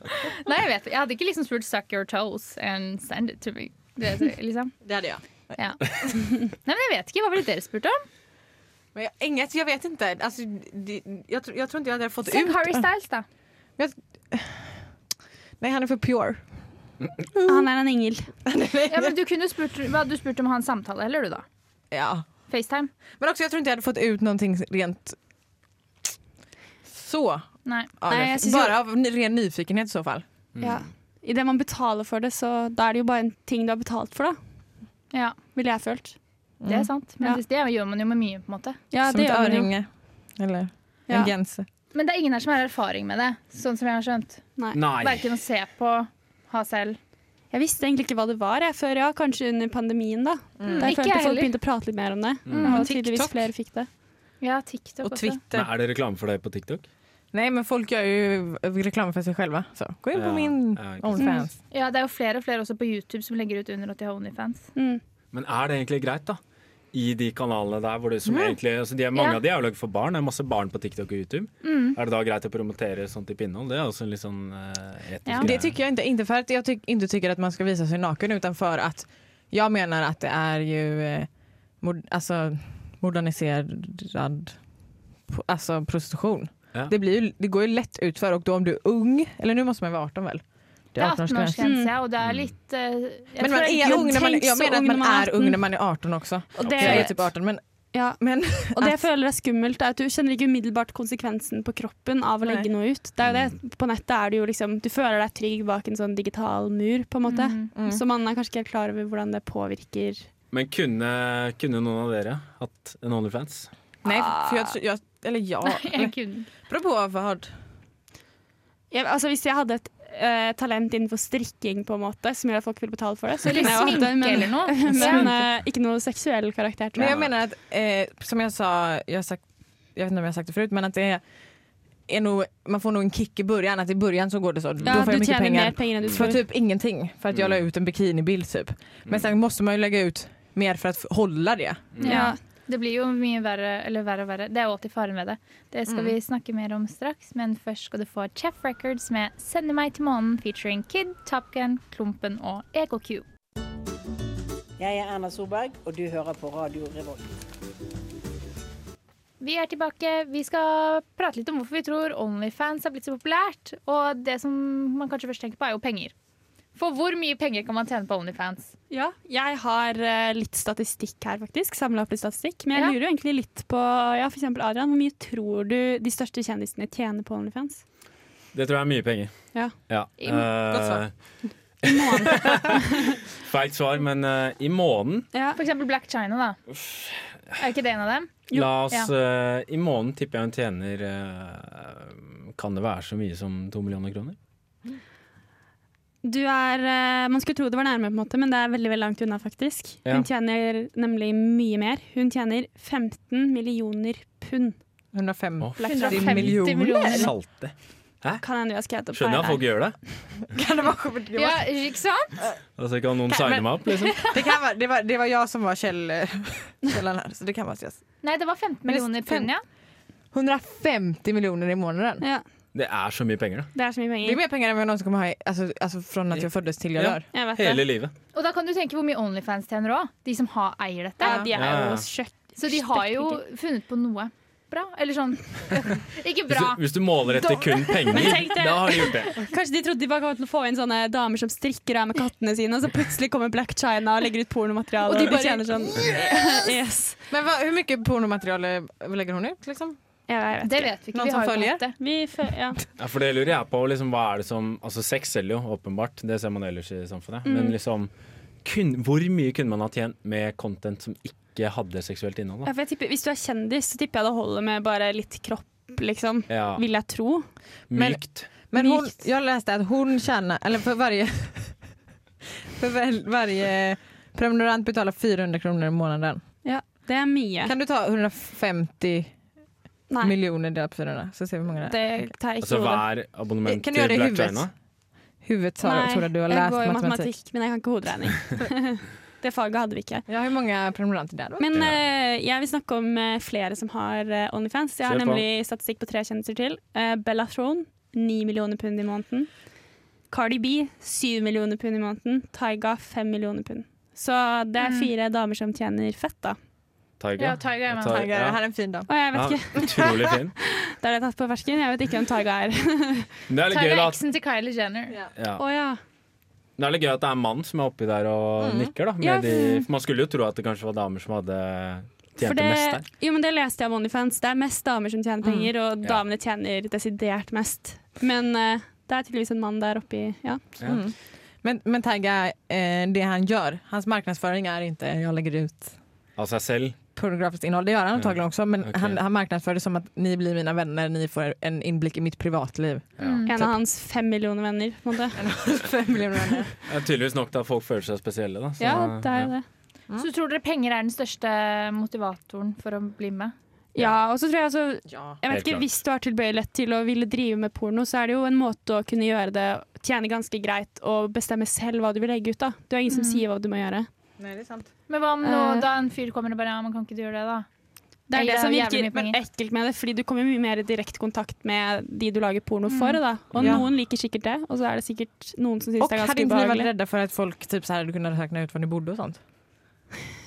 [SPEAKER 1] Nei, jeg vet ikke. Jeg hadde ikke liksom spurt 'suck your toes and send it to me'. Det, liksom.
[SPEAKER 2] Det hadde jeg.
[SPEAKER 1] ja. Nei, men jeg vet ikke. Hva ville dere spurt om?
[SPEAKER 2] Men jeg, inget, jeg vet ikke. Altså, det, jeg, tror- jeg tror ikke jeg hadde fått
[SPEAKER 1] Send
[SPEAKER 2] ut
[SPEAKER 1] Harry Styles, da.
[SPEAKER 2] Nei, han er for pure.
[SPEAKER 5] Ah, Han er en engel.
[SPEAKER 1] Ja, men du kunne spurt, hva, du spurte om å ha en samtale, eller du da?
[SPEAKER 2] Ja.
[SPEAKER 1] FaceTime?
[SPEAKER 2] Men også, jeg tror ikke jeg hadde fått ut noe rent så
[SPEAKER 1] Nei.
[SPEAKER 2] av
[SPEAKER 5] Nej,
[SPEAKER 2] Ah, det.
[SPEAKER 5] jag syns
[SPEAKER 2] Bare av ren nyfikenhet i så fall.
[SPEAKER 1] Mm.
[SPEAKER 3] Mm.
[SPEAKER 5] Ja. Idet man betaler for det, så da er det jo bare en ting du har betalt for, da.
[SPEAKER 1] Ja.
[SPEAKER 5] Ville jeg følt.
[SPEAKER 1] Det er sant. Men
[SPEAKER 5] Ja.
[SPEAKER 1] det- det gjør man jo med mye, på en måte.
[SPEAKER 5] Ja,
[SPEAKER 2] som
[SPEAKER 5] det
[SPEAKER 2] et
[SPEAKER 5] gjør man jo.
[SPEAKER 2] øreringe. Eller
[SPEAKER 5] Ja.
[SPEAKER 2] en genser.
[SPEAKER 1] Men det er ingen her som har erfaring med det, sånn som jeg har skjønt.
[SPEAKER 3] Nei.
[SPEAKER 1] Verken å se på, ha selv.
[SPEAKER 5] Jeg visste egentlig ikke hva det var jeg, før, ja, kanskje under pandemien. da. Da jeg
[SPEAKER 1] Mm. Ikke
[SPEAKER 5] følte
[SPEAKER 1] jeg
[SPEAKER 5] folk
[SPEAKER 1] heller.
[SPEAKER 5] begynte å prate litt mer om det.
[SPEAKER 1] Mm.
[SPEAKER 5] Og tydeligvis flere fikk det.
[SPEAKER 1] Ja, TikTok
[SPEAKER 2] Og
[SPEAKER 1] også.
[SPEAKER 3] Men
[SPEAKER 2] Twitter.
[SPEAKER 3] er det reklame for det på TikTok?
[SPEAKER 2] Nej, men folk gör ju reklam för sig själva. Så gå in på
[SPEAKER 3] Ja,
[SPEAKER 2] min
[SPEAKER 3] ja, ikke sant.
[SPEAKER 2] Onlyfans.
[SPEAKER 1] Ja, det er jo flere og flere også på YouTube som legger ut under at de har Onlyfans.
[SPEAKER 5] Mm.
[SPEAKER 3] Men er det egentlig greit, da? I de kanalene der hvor det som egentlig altså de er, Mange
[SPEAKER 1] Ja.
[SPEAKER 3] av de er jo laget for barn. Det er masse barn på TikTok og YouTube. Er det da greit å promotere sånt type innhold? Det er også en litt sånn eh, etisk
[SPEAKER 1] Ja.
[SPEAKER 3] greie.
[SPEAKER 2] Det tycker jag inte. Inte för att jag tyck, inte tycker att man ska visa sig naken utan för att jag menar att det är ju eh, mod, alltså, moderniserad po- alltså prostitution.
[SPEAKER 3] Ja.
[SPEAKER 2] Det, blir ju, det går ju lätt ut för och då om du är ung, eller nu måste man vara 18 väl?
[SPEAKER 1] Det er
[SPEAKER 2] 18-årsgräns.
[SPEAKER 1] 18-årsgrense, ja, og det er litt eh, jeg
[SPEAKER 2] Men
[SPEAKER 1] tror det
[SPEAKER 2] man är
[SPEAKER 1] ikke-
[SPEAKER 5] men
[SPEAKER 2] ung när man,
[SPEAKER 5] tänk
[SPEAKER 2] jag
[SPEAKER 5] så
[SPEAKER 2] menar att
[SPEAKER 5] ung
[SPEAKER 2] man
[SPEAKER 5] när man är Eh,
[SPEAKER 2] är
[SPEAKER 5] 18.
[SPEAKER 2] ung när man är 18 också.
[SPEAKER 5] Og
[SPEAKER 2] Så jag är
[SPEAKER 5] det,
[SPEAKER 2] typ 18 men,
[SPEAKER 5] ja.
[SPEAKER 2] men
[SPEAKER 5] og det jeg føler er skummelt, er at du kjenner ikke umiddelbart konsekvensen på kroppen av å
[SPEAKER 2] Nei.
[SPEAKER 5] legge noe ut. Det er jo det. På nettet er du jo liksom Du føler deg trygg bak en sånn digital mur, på en måte.
[SPEAKER 1] Mm.
[SPEAKER 2] mm.
[SPEAKER 5] Så man er kanskje ikke helt klar over hvordan det påvirker
[SPEAKER 3] Men kunne, kunne noen av dere hatt en Onlyfans?
[SPEAKER 2] nej för jag, jag eller ja,
[SPEAKER 1] Jeg kunne-
[SPEAKER 2] beror på vad.
[SPEAKER 5] jeg, altså Hvis jeg hadde et eh, talent innenfor strikking, på en måte, som gjør at folk vil betale for det, så
[SPEAKER 1] Eller
[SPEAKER 5] kunne jeg jo hatt det.
[SPEAKER 1] sminke eller
[SPEAKER 5] Men,
[SPEAKER 1] noe.
[SPEAKER 5] men eh, ikke noe seksuell karakter, tror
[SPEAKER 2] Men jag
[SPEAKER 5] jeg.
[SPEAKER 2] menar att, eh, som jag sa, jag, har sagt, jag vet inte om jag har sagt det förut, men att det är nog, man får nog en kick i början, att i början så går det så.
[SPEAKER 5] Ja,
[SPEAKER 2] då får jag
[SPEAKER 5] du
[SPEAKER 2] mycket
[SPEAKER 5] tjener
[SPEAKER 2] pengar.
[SPEAKER 5] mer penger enn du
[SPEAKER 2] För
[SPEAKER 5] tror.
[SPEAKER 2] typ ingenting, för att jag la ut en bikinibild typ. Men sen måste man ju lägga ut mer för att f- hålla det.
[SPEAKER 5] Ja.
[SPEAKER 1] Det blir jo mye verre, eller verre og verre. Det er jo alltid faren ved det. Det
[SPEAKER 5] Mm.
[SPEAKER 1] skal vi snakke mer om straks, men først skal du få Chef Records med 'Sende meg til månen' featuring Kid, Top Gun, Klumpen og E EKQ.
[SPEAKER 6] Jeg er Erna Solberg, og du hører på Radio Revolt.
[SPEAKER 1] Vi er tilbake. Vi skal prate litt om hvorfor vi tror Onlyfans har blitt så populært. Og det som man kanskje først tenker på, er jo penger. For hvor mye penger kan man tjene på Onlyfans?
[SPEAKER 5] Ja, jeg har eh, litt statistikk her, faktisk. Samla opp litt statistikk. Men jeg
[SPEAKER 1] Ja.
[SPEAKER 5] lurer jo egentlig litt på ja, f.eks. Adrian, hvor mye tror du de største kjendisene tjener på OnlyFans?
[SPEAKER 3] Det tror jeg er mye penger.
[SPEAKER 5] Ja.
[SPEAKER 3] ja.
[SPEAKER 1] I må-
[SPEAKER 2] Godt svar.
[SPEAKER 3] Feil svar, men eh, i måneden
[SPEAKER 5] Ja.
[SPEAKER 1] For eksempel Black China, da. Er ikke det en av dem?
[SPEAKER 5] Jo,
[SPEAKER 3] La oss
[SPEAKER 1] ja.
[SPEAKER 3] eh, I måneden tipper jeg hun tjener eh, Kan det være så mye som to millioner kroner?
[SPEAKER 5] Du er eh, Man skulle tro det var nærme, på en måte, men det er veldig veldig langt unna, faktisk.
[SPEAKER 3] Ja.
[SPEAKER 5] Hun tjener nemlig mye mer. Hun tjener 15 millioner pund.
[SPEAKER 2] 105.
[SPEAKER 3] Å,
[SPEAKER 5] Black Friday.
[SPEAKER 1] 150
[SPEAKER 2] millioner.
[SPEAKER 1] millioner.
[SPEAKER 3] Salte.
[SPEAKER 5] Kan hende vi har skrevet opp
[SPEAKER 3] Skjønner jeg at folk gjør det.
[SPEAKER 2] Kan det, vara, det,
[SPEAKER 1] Ja,
[SPEAKER 2] var,
[SPEAKER 1] ikke sant?
[SPEAKER 3] Altså Kan noen
[SPEAKER 2] Kan-
[SPEAKER 3] signe
[SPEAKER 2] men-
[SPEAKER 3] meg opp, liksom?
[SPEAKER 2] det, kan vara, det, var, det var jag som var käll, källan här, så det kan vara yes.
[SPEAKER 1] Nei, det var 15
[SPEAKER 2] Men det-
[SPEAKER 1] millioner pund, ja.
[SPEAKER 2] 150 miljoner i månaden.
[SPEAKER 5] Ja,
[SPEAKER 3] Det er så mye penger, da.
[SPEAKER 5] det er så mye
[SPEAKER 2] Det är
[SPEAKER 5] penger.
[SPEAKER 2] mer pengar än vad jag någonsin kommer ha i, alltså, alltså från att jag föddes till jag
[SPEAKER 3] Ja.
[SPEAKER 2] dör.
[SPEAKER 5] Jeg vet
[SPEAKER 3] Hele
[SPEAKER 5] det.
[SPEAKER 3] livet.
[SPEAKER 1] Og da kan du tenke hvor mye Onlyfans tjener òg. De som har, eier dette.
[SPEAKER 5] Ja, de er
[SPEAKER 3] Ja, ja.
[SPEAKER 5] jo sjøk...
[SPEAKER 1] Så de har jo funnet på noe bra. Eller sånn Ikke
[SPEAKER 3] Hvis
[SPEAKER 1] bra.
[SPEAKER 3] du, hvis du måler etter kun penger,
[SPEAKER 5] tenk det.
[SPEAKER 3] da har de gjort det.
[SPEAKER 5] Kanskje de trodde de bare kom til å få inn sånne damer som strikker av med kattene sine, og så plutselig kommer Black China og legger ut pornomateriale, og de bare tjener sånn Yes!
[SPEAKER 2] Men vad, hur mycket pornomaterial eh, lägger hon ut liksom?
[SPEAKER 5] Ja, jeg vet.
[SPEAKER 1] Det vet vi ikke.
[SPEAKER 2] Noen
[SPEAKER 1] Vi
[SPEAKER 2] som
[SPEAKER 1] har jo
[SPEAKER 2] følger?
[SPEAKER 1] hatt det.
[SPEAKER 5] Vi fø- ja.
[SPEAKER 3] Ja, for det lurer jeg på. Liksom, hva er det som Altså, sex selger jo, åpenbart. Det ser man ellers i samfunnet. Men liksom kun, Hvor mye kunne man ha tjent med content som ikke hadde seksuelt innhold?
[SPEAKER 5] Ja,
[SPEAKER 3] da?
[SPEAKER 5] for jeg tipper, hvis du er kjendis, så tipper jeg det holder med bare litt kropp, liksom.
[SPEAKER 3] Ja,
[SPEAKER 5] Vil jeg tro.
[SPEAKER 2] men-
[SPEAKER 3] mykt.
[SPEAKER 2] Men hon,
[SPEAKER 5] Likt.
[SPEAKER 2] jag läste att hon tjänar, eller för varje, för väl- varje prenumerant betalar 400 kronor i månaden.
[SPEAKER 5] Ja, det er mye.
[SPEAKER 2] Kan du ta 150
[SPEAKER 5] Nei,
[SPEAKER 2] miljoner delat på 400 så ser vi hur många det
[SPEAKER 5] det
[SPEAKER 2] är.
[SPEAKER 5] tar jeg ikke
[SPEAKER 3] Altså
[SPEAKER 5] i hodet.
[SPEAKER 3] hver abonnement
[SPEAKER 2] Kan
[SPEAKER 3] til
[SPEAKER 2] du gjøre det i
[SPEAKER 3] Black
[SPEAKER 2] huvudet?
[SPEAKER 3] China.
[SPEAKER 2] Huvudet Sara, tror jag du har
[SPEAKER 5] jeg
[SPEAKER 2] läst
[SPEAKER 5] går i
[SPEAKER 2] matematik.
[SPEAKER 5] matematikk, men jeg kan ikke hoderegning. det faget hadde vi ikke.
[SPEAKER 2] Ja, hur många prenumeranter där då?
[SPEAKER 5] Men
[SPEAKER 3] Ja.
[SPEAKER 5] eh, jeg vil snakke om eh, flere som har eh, Onlyfans. Jeg har
[SPEAKER 3] Kjør på.
[SPEAKER 5] nemlig statistikk på tre kjendiser til. Eh, Bella Throne, 9 millioner pund i måneden. Cardi B, 7 millioner pund i måneden. Taiga, 5 millioner pund. Så det er
[SPEAKER 1] Mm.
[SPEAKER 5] fire damer som tjener fett, da.
[SPEAKER 3] Tiger.
[SPEAKER 1] Ja, Tiger er med.
[SPEAKER 3] Tiger,
[SPEAKER 2] Tiger,
[SPEAKER 3] ja.
[SPEAKER 2] här är en fin dag.
[SPEAKER 5] Og jeg vet
[SPEAKER 3] Ja,
[SPEAKER 5] ikke,
[SPEAKER 3] utrolig fin.
[SPEAKER 5] det har jeg tatt på fersken. Jeg vet ikke hvem Taiga er.
[SPEAKER 3] Men det er litt gøy
[SPEAKER 1] Tyler
[SPEAKER 3] da at,
[SPEAKER 1] eksen til Kylie Jenner.
[SPEAKER 3] ja.
[SPEAKER 5] Å ja.
[SPEAKER 3] det er litt gøy at det er en mann som er oppi der og nikker, da. Med
[SPEAKER 5] Mm. Ja,
[SPEAKER 3] de, for man skulle jo tro at det kanskje var damer som hadde
[SPEAKER 5] For
[SPEAKER 3] tjent det mest der. Mm.
[SPEAKER 5] det, jo, men det leste jeg om Onlyfans. Det er mest damer som tjener penger, og
[SPEAKER 3] Ja.
[SPEAKER 5] damene tjener desidert mest. Men eh, det er tydeligvis en mann der oppi Ja.
[SPEAKER 3] Ja.
[SPEAKER 2] Mm. Men, men Tagga, eh, det han gör, hans marknadsföring är inte jag lägger ut
[SPEAKER 3] av seg selv.
[SPEAKER 2] pornografiskt innehåll. Det gör han antagligen också men
[SPEAKER 3] Mm. Okej.
[SPEAKER 2] han, han marknadsför det som att ni blir mina vänner, ni får en inblick i mitt privatliv.
[SPEAKER 1] Mm.
[SPEAKER 5] En av hans fem millioner venner. På en måte.
[SPEAKER 2] Fem miljoner vänner.
[SPEAKER 3] Det er tydeligvis nok til at folk føler seg spesielle. Da. Så,
[SPEAKER 5] Ja, det er jo det.
[SPEAKER 1] Så tror dere penger er den største motivatoren for å bli med?
[SPEAKER 5] Ja, og så tror jeg altså Jeg
[SPEAKER 3] Helt
[SPEAKER 5] vet ikke,
[SPEAKER 3] klart.
[SPEAKER 5] Hvis du har tilbøyelighet til å ville drive med porno, så er det jo en måte å kunne gjøre det tjene ganske greit og bestemme selv hva du vil legge ut. da. Det er ingen som
[SPEAKER 1] Mm.
[SPEAKER 5] sier hva du må gjøre.
[SPEAKER 2] Nej, det är sant.
[SPEAKER 1] Men hva om nå,
[SPEAKER 5] Eh.
[SPEAKER 1] da en fyr kommer og bare ja, man kan ikke du gjøre det, da?
[SPEAKER 5] Det er
[SPEAKER 1] Eller
[SPEAKER 5] det som
[SPEAKER 1] jævlig mye
[SPEAKER 5] virker
[SPEAKER 1] penger.
[SPEAKER 5] ekkelt med det, fordi du kommer mye mer i direkte kontakt med de du lager porno for.
[SPEAKER 1] Mm.
[SPEAKER 5] Da. Og
[SPEAKER 2] Ja.
[SPEAKER 5] noen liker sikkert det, og så er det sikkert noen som syns
[SPEAKER 2] Och
[SPEAKER 5] det er
[SPEAKER 2] hade
[SPEAKER 5] ganske
[SPEAKER 2] inte ni varit
[SPEAKER 5] ubehagelig.
[SPEAKER 2] rädda för att folk typ så här hade kunnat räkna ut var ni bodde och sånt?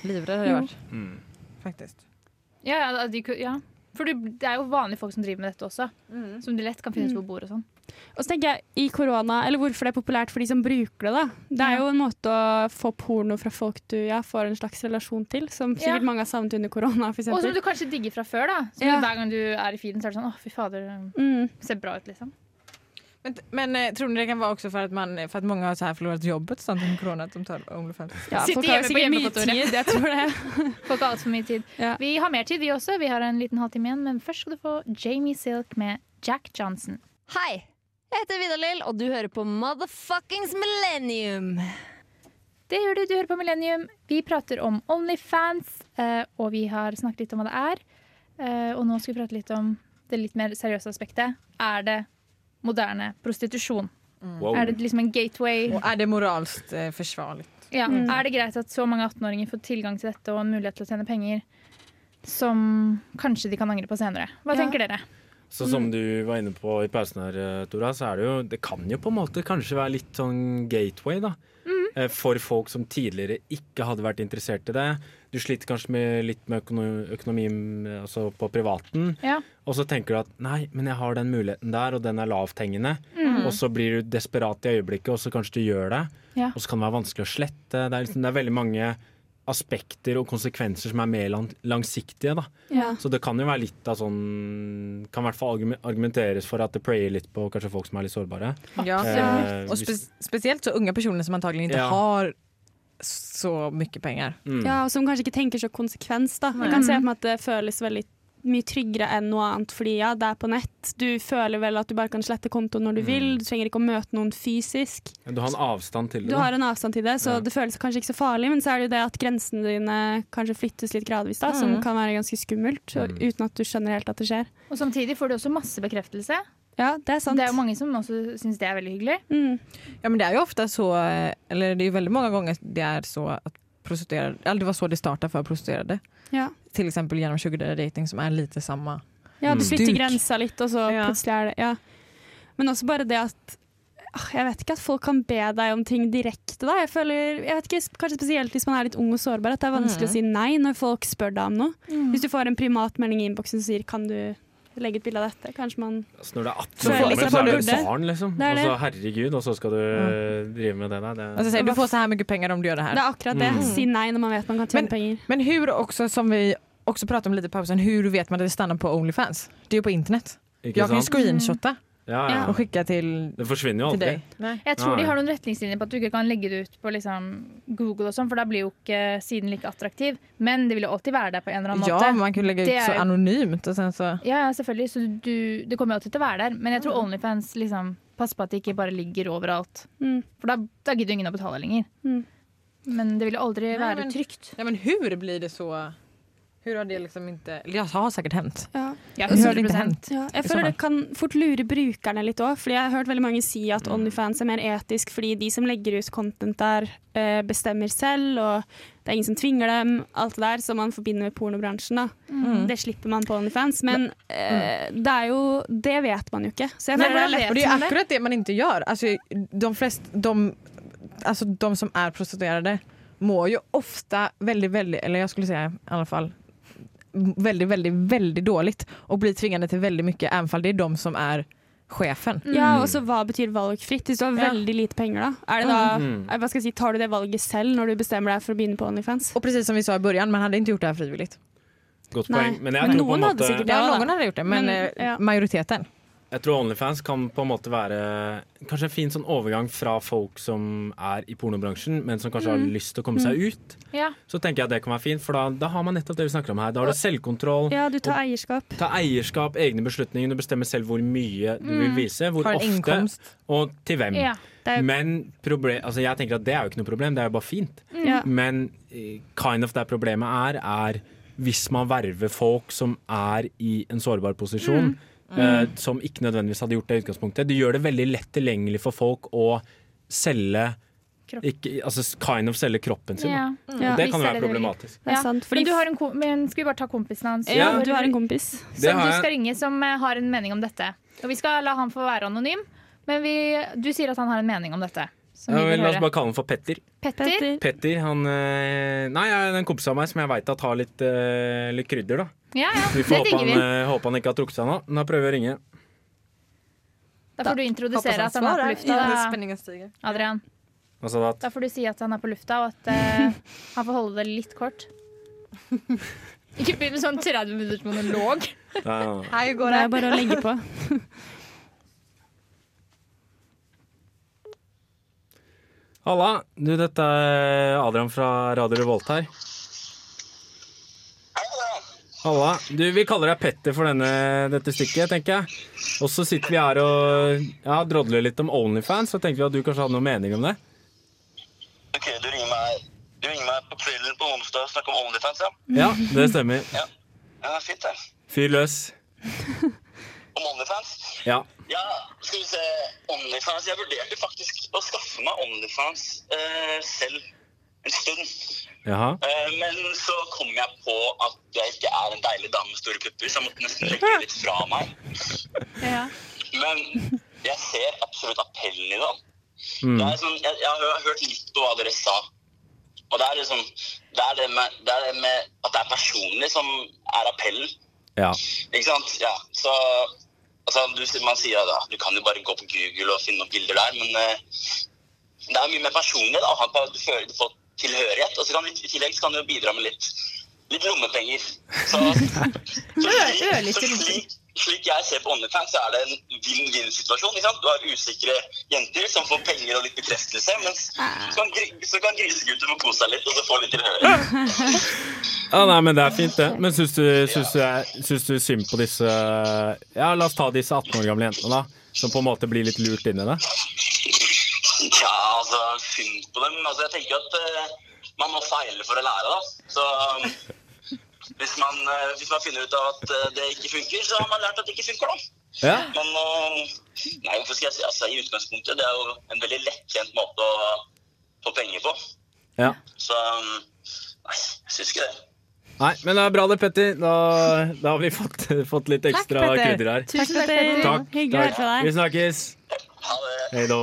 [SPEAKER 2] Livrädd hade jag varit
[SPEAKER 3] Mm.
[SPEAKER 2] faktiskt.
[SPEAKER 1] Ja, ja, da- de, ku- ja. For du, det er jo vanlige folk som driver med dette også. Som du lett kan
[SPEAKER 5] Mm.
[SPEAKER 1] finne ut hvor bor og sånn.
[SPEAKER 5] Og så tenker jeg i korona, eller hvorfor det er populært for de som bruker det, da. Det er jo en måte å få porno fra folk du ja, får en slags relasjon til, som
[SPEAKER 1] Ja.
[SPEAKER 5] sikkert mange har savnet under korona, for
[SPEAKER 1] Og som
[SPEAKER 5] eksempel.
[SPEAKER 1] du kanskje digger fra før, da. Som
[SPEAKER 5] Ja.
[SPEAKER 1] du, hver gang du er i feeden, så er det sånn å, fy fader, det
[SPEAKER 5] Mm.
[SPEAKER 1] ser bra ut, liksom.
[SPEAKER 2] Men, men eh, tror ni det kan vara också för att, man, för att många har så här förlorat jobbet och sånt under corona att de tar Onlyfans?
[SPEAKER 5] Ja,
[SPEAKER 1] Sitte
[SPEAKER 5] folk har
[SPEAKER 1] hjemme på
[SPEAKER 5] sikkert mye
[SPEAKER 1] hjemmekontoret.
[SPEAKER 5] tid, jeg tror det.
[SPEAKER 1] Får ikke altfor mye tid.
[SPEAKER 5] Ja.
[SPEAKER 1] Vi har mer tid, vi også. Vi har en liten halvtime igjen, men først skal du få Jamie Silk med Jack Johnson.
[SPEAKER 7] Hei! Jeg heter Vidar Lill, og du hører på Motherfuckings Millennium.
[SPEAKER 1] Det gjør du. Du hører på Millennium. Vi prater om Onlyfans, eh, og vi har snakket litt om hva det er. Eh, Og nå skal vi prate litt om det litt mer seriøse aspektet. Er det moderne prostitusjon?
[SPEAKER 5] Mm.
[SPEAKER 3] Wow.
[SPEAKER 1] Er det liksom en gateway?
[SPEAKER 2] Och är det moraliskt eh, försvarligt?
[SPEAKER 1] Ja. Er det greit at så mange 18-åringer får tilgang til dette og en mulighet til å tjene penger som kanskje de kan angre på senere? Hva
[SPEAKER 5] Ja.
[SPEAKER 1] tenker dere?
[SPEAKER 3] Så
[SPEAKER 1] Mm.
[SPEAKER 3] som du var inne på i pausen her, eh, Tora, så er det jo Det kan jo på en måte kanskje være litt sånn gateway, da.
[SPEAKER 1] Mm.
[SPEAKER 3] Eh, For folk som tidligere ikke hadde vært interessert i det. Du sliter kanskje med, litt med økono- økonomi eh, altså på privaten,
[SPEAKER 1] Ja.
[SPEAKER 3] og så tenker du at nei, men jeg har den muligheten der, og den er lavthengende. Og så blir du desperat i øyeblikket, og så kanskje du gjør det.
[SPEAKER 1] Mm. Ja.
[SPEAKER 3] Og så kan det være vanskelig å slette. Det er, liksom, det er veldig mange aspekter og konsekvenser som er mer lang langsiktige, da.
[SPEAKER 5] Ja.
[SPEAKER 3] Så det kan jo være litt av sånn Kan i hvert fall argumen- argumenteres for at det prayer litt på kanskje folk som er litt sårbare.
[SPEAKER 2] Ja.
[SPEAKER 3] Eh,
[SPEAKER 2] Och spe
[SPEAKER 3] hvis,
[SPEAKER 2] speciellt så unga personer som antagligen inte
[SPEAKER 3] Ja.
[SPEAKER 2] har så mycket pengar.
[SPEAKER 3] mm.
[SPEAKER 5] ja, og som kanskje ikke tenker så konsekvens. Da. Jeg kan se for meg at det føles veldig mye tryggere enn noe annet, fordi ja, det er på nett. Du føler vel at du bare kan slette kontoen når du vil, du trenger ikke å møte noen fysisk.
[SPEAKER 3] Du har en avstand til det.
[SPEAKER 5] Du
[SPEAKER 3] da.
[SPEAKER 5] har en avstand til det, så
[SPEAKER 3] Ja.
[SPEAKER 5] det føles kanskje ikke så farlig, men så er det jo det at grensene dine kanskje flyttes litt gradvis, da, som kan være ganske skummelt, og, uten at du skjønner helt at det skjer.
[SPEAKER 1] Og samtidig får du også masse bekreftelse.
[SPEAKER 5] Ja, det er sant.
[SPEAKER 1] Det er jo mange som også syns det er veldig hyggelig.
[SPEAKER 5] Mm.
[SPEAKER 2] Ja men det är ju ofta så, eh, eller det är ju väldigt många gånger det är så att prostituerade, eller det var så det startade för prostituerade.
[SPEAKER 5] Ja.
[SPEAKER 2] Till exempel genom sugar daddy dating som är lite samma.
[SPEAKER 5] Ja, du
[SPEAKER 3] Mm.
[SPEAKER 5] flytter
[SPEAKER 2] Duk.
[SPEAKER 5] grensa litt, og så
[SPEAKER 2] Ja.
[SPEAKER 5] plutselig er det ja. Men også bare det at ah, Jeg vet ikke at folk kan be deg om ting direkte, da. Jeg føler, jeg vet ikke, kanskje spesielt hvis man er litt ung og sårbar, at det er vanskelig å si nei når folk spør deg om noe. Hvis du får en privatmelding i innboksen som sier 'kan du legge et bilde av dette', kanskje man
[SPEAKER 3] Altså, når du er 18
[SPEAKER 5] Så
[SPEAKER 3] år
[SPEAKER 5] er det
[SPEAKER 3] gammel,
[SPEAKER 5] liksom
[SPEAKER 3] så er du
[SPEAKER 5] bare det.
[SPEAKER 3] barn, liksom.
[SPEAKER 5] Det er det. Altså,
[SPEAKER 3] Og så herregud, og så skal du eh, drive med det der. Det,
[SPEAKER 2] Alltså, säger, du får så här mycket pengar om du gör det
[SPEAKER 5] Det
[SPEAKER 2] här.
[SPEAKER 5] er akkurat det. Si nei når man vet man kan tjene
[SPEAKER 2] Men-
[SPEAKER 5] penger.
[SPEAKER 2] Men hur också, som vi också pratade om lite i pausen, hur vet man att det stannar på Onlyfans? Det är ju på internet.
[SPEAKER 3] ikke
[SPEAKER 2] Jag kan ju
[SPEAKER 3] sant?
[SPEAKER 2] screenshotta
[SPEAKER 3] Ja, ja.
[SPEAKER 2] och skicka till,
[SPEAKER 3] Det forsvinner jo
[SPEAKER 2] till
[SPEAKER 3] aldri.
[SPEAKER 2] dig. Nej.
[SPEAKER 1] Jeg tror
[SPEAKER 3] Nei.
[SPEAKER 1] de har noen retningslinjer på at du ikke kan legge det ut på liksom Google, og sånn, for da blir jo ikke siden like attraktiv. Men det vil jo alltid være der på en eller annen
[SPEAKER 2] Ja,
[SPEAKER 1] måte.
[SPEAKER 2] man kan lägga
[SPEAKER 1] Det
[SPEAKER 2] ut
[SPEAKER 1] är
[SPEAKER 2] så
[SPEAKER 1] ju-
[SPEAKER 2] anonymt och sen så...
[SPEAKER 1] Ja, ja, selvfølgelig. Så du, det kommer jo alltid til å være der. Men jeg tror Onlyfans liksom, passer på at det ikke bare ligger overalt.
[SPEAKER 5] Mm.
[SPEAKER 1] For da, da gidder jo ingen å betale lenger.
[SPEAKER 5] Mm.
[SPEAKER 1] Men det vil jo aldri være
[SPEAKER 2] men-
[SPEAKER 1] trygt.
[SPEAKER 2] Ja, men hur blir det så? Hur har det liksom inte... eller Ja, det har säkert hänt.
[SPEAKER 5] Ja.
[SPEAKER 1] Ja,
[SPEAKER 2] Hur har det
[SPEAKER 1] 100%.
[SPEAKER 2] inte hänt?
[SPEAKER 5] Ja, jeg
[SPEAKER 2] I
[SPEAKER 5] føler
[SPEAKER 2] sommer.
[SPEAKER 5] det kan fort lure brukerne litt òg. Fordi jeg har hørt veldig mange si at Onlyfans er mer etisk fordi de som legger ut content der, eh, bestemmer selv, og det er ingen som tvinger dem. Alt det der som man forbinder med pornobransjen. Da.
[SPEAKER 1] Mm.
[SPEAKER 5] Det slipper man på Onlyfans, men eh, det er jo Det vet man jo ikke. Så jeg
[SPEAKER 1] Nei,
[SPEAKER 5] føler det er
[SPEAKER 1] hvordan
[SPEAKER 5] lett
[SPEAKER 1] vet
[SPEAKER 2] Och det är
[SPEAKER 1] man
[SPEAKER 2] ju
[SPEAKER 1] det?
[SPEAKER 2] akkurat det man inte gör. Alltså, de, flest, de, alltså, de som är prostituerade mår ju ofta väldigt, väldigt, eller jag skulle säga i alla fall, väldigt, väldigt, väldigt dåligt och blir tvingade till väldigt mycket även fall det är de som är chefen.
[SPEAKER 5] Ja, og så hva betyr valgfritt? Hvis du har
[SPEAKER 2] Ja.
[SPEAKER 5] veldig lite penger, da, er det da
[SPEAKER 3] Mm.
[SPEAKER 5] eh, hva skal jeg si, tar du det valget selv når du bestemmer deg for å begynne på Onlyfans?
[SPEAKER 2] Och precis som vi sa i början, man hade inte gjort det här frivilligt.
[SPEAKER 3] Godt
[SPEAKER 5] Nei.
[SPEAKER 3] poeng. Men jeg
[SPEAKER 5] Men
[SPEAKER 3] tror på en
[SPEAKER 5] noen hadde
[SPEAKER 3] måte
[SPEAKER 5] sikkert det.
[SPEAKER 2] Ja,
[SPEAKER 5] Ja, da.
[SPEAKER 2] någon hade gjort det, men,
[SPEAKER 5] Men,
[SPEAKER 2] eh,
[SPEAKER 5] ja.
[SPEAKER 2] majoriteten.
[SPEAKER 3] Jeg tror Onlyfans kan på en måte være kanskje en fin sånn overgang fra folk som er i pornobransjen, men som kanskje
[SPEAKER 5] Mm.
[SPEAKER 3] har lyst til å komme seg ut.
[SPEAKER 1] Ja.
[SPEAKER 3] Så tenker jeg at det kan være fint, for da, da har man nettopp det vi snakker om her. Da har du selvkontroll.
[SPEAKER 5] Ja, du tar eierskap.
[SPEAKER 3] Ta eierskap, egne beslutninger. Du bestemmer selv hvor mye du
[SPEAKER 1] Mm.
[SPEAKER 3] vil vise, hvor
[SPEAKER 2] Har en
[SPEAKER 3] ofte
[SPEAKER 2] innkomst.
[SPEAKER 3] og til hvem.
[SPEAKER 1] Ja.
[SPEAKER 5] Det er,
[SPEAKER 3] Men proble altså jeg tenker at det er jo ikke noe problem, det er jo bare fint.
[SPEAKER 5] ja.
[SPEAKER 3] Men eh, kind of der problemet er, er hvis man verver folk som er i en sårbar posisjon,
[SPEAKER 1] Mm.
[SPEAKER 3] eh, som ikke nødvendigvis hadde gjort det i utgangspunktet. Du gjør det veldig lett tilgjengelig for folk å selge
[SPEAKER 1] Kropp.
[SPEAKER 3] ikke, altså kind of selge kroppen sin. da.
[SPEAKER 1] Ja.
[SPEAKER 5] Ja,
[SPEAKER 3] Det
[SPEAKER 1] vi
[SPEAKER 3] kan
[SPEAKER 1] selger
[SPEAKER 3] være
[SPEAKER 1] det
[SPEAKER 3] problematisk.
[SPEAKER 5] Det er sant, fordi-
[SPEAKER 1] men, du har en kom men skal vi bare ta kompisen hans?
[SPEAKER 5] ja,
[SPEAKER 3] Ja.
[SPEAKER 5] du har en kompis.
[SPEAKER 3] Det
[SPEAKER 1] Som
[SPEAKER 3] har
[SPEAKER 1] du skal
[SPEAKER 3] jeg.
[SPEAKER 1] ringe, som eh, har en mening om dette. Og vi skal la han få være anonym, men vi, du sier at han har en mening om dette. Som
[SPEAKER 3] Ja,
[SPEAKER 1] vi
[SPEAKER 3] men
[SPEAKER 1] vil
[SPEAKER 3] la oss
[SPEAKER 1] høre.
[SPEAKER 3] bare kalle han for Petter.
[SPEAKER 1] Petter?
[SPEAKER 5] Petter.
[SPEAKER 3] Petter, han eh, Nei, jeg er en kompis av meg som jeg veit at har litt, eh, litt krydder, da.
[SPEAKER 1] Ja, ja,
[SPEAKER 3] Vi
[SPEAKER 1] det
[SPEAKER 3] får håpe
[SPEAKER 1] digger
[SPEAKER 3] han,
[SPEAKER 1] vi.
[SPEAKER 3] eh, håper han ikke har trukket seg nå. Nå prøver jeg å ringe.
[SPEAKER 1] Da får du introdusere at han er på lufta. da, Adrian,
[SPEAKER 3] Altså at
[SPEAKER 1] da får du si at han er på lufta, og at eh, han får holde det litt kort. Ikke begynn med sånn 30 minutters monolog.
[SPEAKER 3] Nei, nei, nei.
[SPEAKER 2] Hei,
[SPEAKER 5] Det er bare å legge på.
[SPEAKER 3] Halla, du, dette er Adrian fra Radio Revolt her. Halla. Du, vi kaller deg Petter for denne, dette stykket, tenker jeg. Og så sitter vi her og ja, drodler litt om Onlyfans, så tenkte vi at du kanskje hadde noen mening om det.
[SPEAKER 8] Ok, du ringer meg Du ringer meg på kvelden på onsdag og snakker om OnlyFans, ja?
[SPEAKER 3] Ja, det stemmer.
[SPEAKER 8] Ja, fint, det.
[SPEAKER 3] Fyr løs.
[SPEAKER 8] Om OnlyFans?
[SPEAKER 3] Ja.
[SPEAKER 8] Ja, skal vi se OnlyFans Jeg vurderte faktisk å skaffe meg OnlyFans eh, selv en stund.
[SPEAKER 3] Jaha.
[SPEAKER 8] Eh, men så kom jeg på at jeg ikke er en deilig dame med store pupper, så jeg måtte nesten legge det litt fra meg.
[SPEAKER 5] Ja.
[SPEAKER 8] Men jeg ser absolutt appellen i det. det er sånn, jeg, jeg har hø- hørt litt på hva dere sa. Og det er liksom Det er det med, det er det med at det er personlig som er appellen.
[SPEAKER 3] Ja.
[SPEAKER 8] Ikke sant? Ja. Så altså, du, man sier at ja, du kan jo bare gå på Google og finne noen bilder der, men eh, det er mye mer personlig. da, Han bare- Du føler du får tilhørighet. Og så kan, du- i tillegg så kan du jo bidra med litt, litt lommepenger. Så, så, slik, så slik, slik jeg ser på OnlyFans, så er det en vinn-vinn-situasjon. ikke sant? Du har usikre jenter som får penger og litt bekreftelse, mens så kan, gri- så kan grisegutter få kose seg litt og så få litt tilhørighet.
[SPEAKER 3] Ja, nei, men Det er fint, det. Men syns du, syns du, er- syns du synd på disse Ja, la oss ta disse 18 år gamle jentene, da. Som på en måte blir litt lurt inn i det.
[SPEAKER 8] Tja, altså, synd på dem. Altså, jeg tenker at eh, man må feile for å lære, da. Så um, hvis, man, eh, hvis man finner ut av at eh, det ikke funker, så har man lært at det ikke funker, da.
[SPEAKER 3] Ja.
[SPEAKER 8] Men eh, nei, hvorfor skal jeg si altså, i utgangspunktet, det er jo en veldig lettkjent måte å få penger på.
[SPEAKER 3] ja.
[SPEAKER 8] Så um, nei, jeg syns ikke det.
[SPEAKER 3] Nei, men det er bra det, Petter. Da, da har vi fått, fått litt ekstra
[SPEAKER 2] Petter.
[SPEAKER 3] krydder her.
[SPEAKER 5] Tusen takk, Petter.
[SPEAKER 3] Takk.
[SPEAKER 5] Hyggelig å høre fra
[SPEAKER 3] Vi
[SPEAKER 5] deg.
[SPEAKER 3] snakkes.
[SPEAKER 8] Ha det.
[SPEAKER 3] Hei da.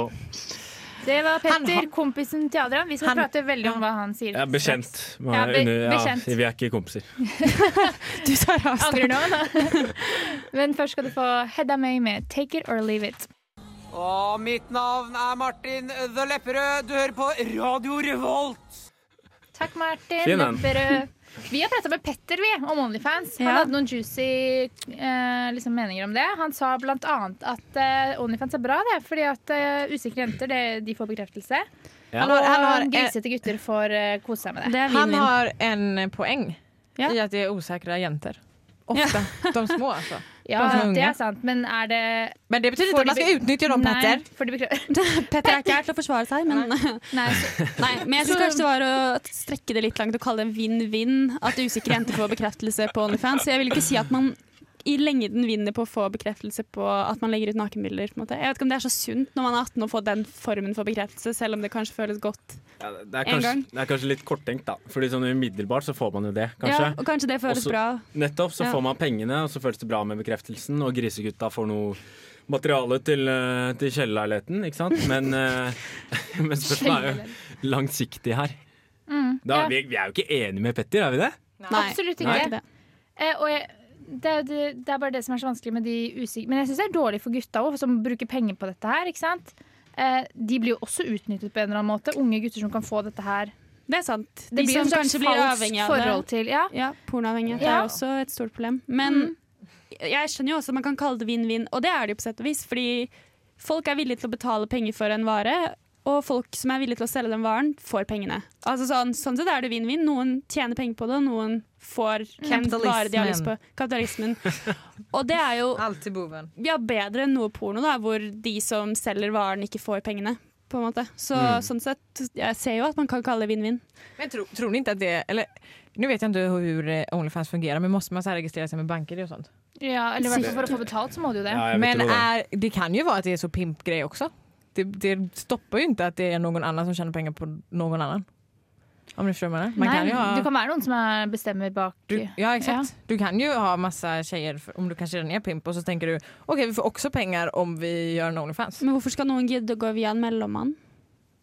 [SPEAKER 1] Det var Petter, kompisen til Adrian. Vi skal
[SPEAKER 2] Han-
[SPEAKER 1] prate veldig om hva han sier.
[SPEAKER 3] Jeg er bekjent. Man
[SPEAKER 1] Ja,
[SPEAKER 3] er
[SPEAKER 1] be-
[SPEAKER 3] under- ja,
[SPEAKER 1] bekjent.
[SPEAKER 3] vi er ikke kompiser.
[SPEAKER 5] Du tar avstand.
[SPEAKER 1] Angrer nå, da. Men først skal du få Hedda May med 'Take it or leave it'.
[SPEAKER 9] Og mitt navn er Martin The Lepperød. Du hører på Radio Revolt.
[SPEAKER 1] Takk, Martin.
[SPEAKER 3] Fin en.
[SPEAKER 1] Lepperød. Vi har prata med Petter vi, om Onlyfans. Han
[SPEAKER 5] Ja.
[SPEAKER 1] hadde noen juicy eh, liksom meninger om det. Han sa blant annet at eh, Onlyfans er bra, det, fordi at eh, usikre jenter det, de får bekreftelse.
[SPEAKER 3] Ja.
[SPEAKER 1] Og
[SPEAKER 2] Han har- eh,
[SPEAKER 1] grisete gutter får eh, kose seg med det.
[SPEAKER 5] Det er
[SPEAKER 2] Han
[SPEAKER 5] vinn-vinn.
[SPEAKER 2] har en poeng
[SPEAKER 5] Ja.
[SPEAKER 2] i at det er usikre jenter. Ofte. De små, altså.
[SPEAKER 1] Ja,
[SPEAKER 2] Bare for
[SPEAKER 1] det
[SPEAKER 2] unge.
[SPEAKER 1] er sant, men er det
[SPEAKER 2] Men det betyr
[SPEAKER 1] Får
[SPEAKER 2] ikke at man
[SPEAKER 1] de
[SPEAKER 2] skal utnytte dem,
[SPEAKER 1] Nei,
[SPEAKER 2] Petter.
[SPEAKER 1] får de bekre-
[SPEAKER 5] Petter er ikke her til å forsvare seg, men
[SPEAKER 1] Nei, så,
[SPEAKER 5] Nei, men jeg synes kanskje det var å strekke det litt langt og kalle det vinn-vinn. At usikre jenter får bekreftelse på OnlyFans. Så jeg vil ikke si at man i lengden vinner på å få bekreftelse på at man legger ut nakenbilder. På en måte. Jeg vet ikke om det er så sunt når man er 18 å få den formen for bekreftelse, selv om det kanskje føles godt.
[SPEAKER 3] Ja, det, er
[SPEAKER 5] En
[SPEAKER 3] kanskje,
[SPEAKER 5] gang.
[SPEAKER 3] det er kanskje litt korttenkt, da. Fordi sånn umiddelbart så får man jo det,
[SPEAKER 5] Ja,
[SPEAKER 3] kanskje.
[SPEAKER 5] og kanskje det føles
[SPEAKER 3] Også-
[SPEAKER 5] bra.
[SPEAKER 3] Nettopp. Så
[SPEAKER 5] Ja.
[SPEAKER 3] får man pengene, og så føles det bra med bekreftelsen. Og grisegutta får noe materiale til, eh, til kjellerleiligheten, ikke sant. Men, eh, men spørsmålet er jo langsiktig her. Da,
[SPEAKER 1] mm, ja.
[SPEAKER 3] vi, vi er jo ikke enige med Petter, er vi det?
[SPEAKER 5] Nei,
[SPEAKER 1] absolutt
[SPEAKER 5] det
[SPEAKER 1] ikke.
[SPEAKER 5] er ikke det.
[SPEAKER 1] Eh, og jeg, det, er- det, det er bare det som er så vanskelig med de usikre Men jeg syns det er dårlig for gutta òg, som bruker penger på dette her. ikke sant? Eh, de blir jo også utnyttet på en eller annen måte. Unge gutter som kan få dette her.
[SPEAKER 5] Det er sant.
[SPEAKER 1] Det
[SPEAKER 5] De
[SPEAKER 1] blir jo
[SPEAKER 5] som
[SPEAKER 1] et slags
[SPEAKER 5] kanskje blir
[SPEAKER 1] falskt
[SPEAKER 5] avhengig av det.
[SPEAKER 1] forhold til ja.
[SPEAKER 5] Ja, pornoavhengighet
[SPEAKER 1] Ja.
[SPEAKER 5] er også et stort problem. Men jeg skjønner jo også at man kan kalle det vinn-vinn, og det er det jo på sett og vis. Fordi folk er villige til å betale penger for en vare, og folk som er villige til å selge den varen, får pengene. Altså sånn, sånn sett er det vinn-vinn. Noen tjener penger på det, og noen får en vare de har lyst på. Kapitalismen. Og det er jo
[SPEAKER 2] Alltid boven.
[SPEAKER 5] ja, bedre enn noe porno, da, hvor de som selger varen, ikke får pengene. På en måte. Så sånn sett, jeg ser jo at man kan kalle det vinn-vinn.
[SPEAKER 2] Men tror, tror ni inte att det, eller nu vet jag inte hur eh, Onlyfans fungerar, men måste man så här registrera sig med banker och sånt?
[SPEAKER 1] Ja, eller i hvert fall for å få betalt, så må du jo det.
[SPEAKER 3] Ja, jeg vil
[SPEAKER 2] Men
[SPEAKER 3] tro det.
[SPEAKER 2] är, det kan ju vara att det är så pimpgrej också. Det, det stoppar ju inte att det är någon annan som tjänar pengar på någon annan. Om du förstår vad jag menar. Man
[SPEAKER 1] Nei,
[SPEAKER 2] kan ju ha...
[SPEAKER 1] Du kan være noen som er bestemmer bak
[SPEAKER 2] Du, ja exakt. Du kan ju ha massa tjejer för- om du kanske redan är pimp och så tänker du okej vi får också pengar om vi gör en Onlyfans.
[SPEAKER 5] Men hvorfor skal noen gidde å gå via en mellommann?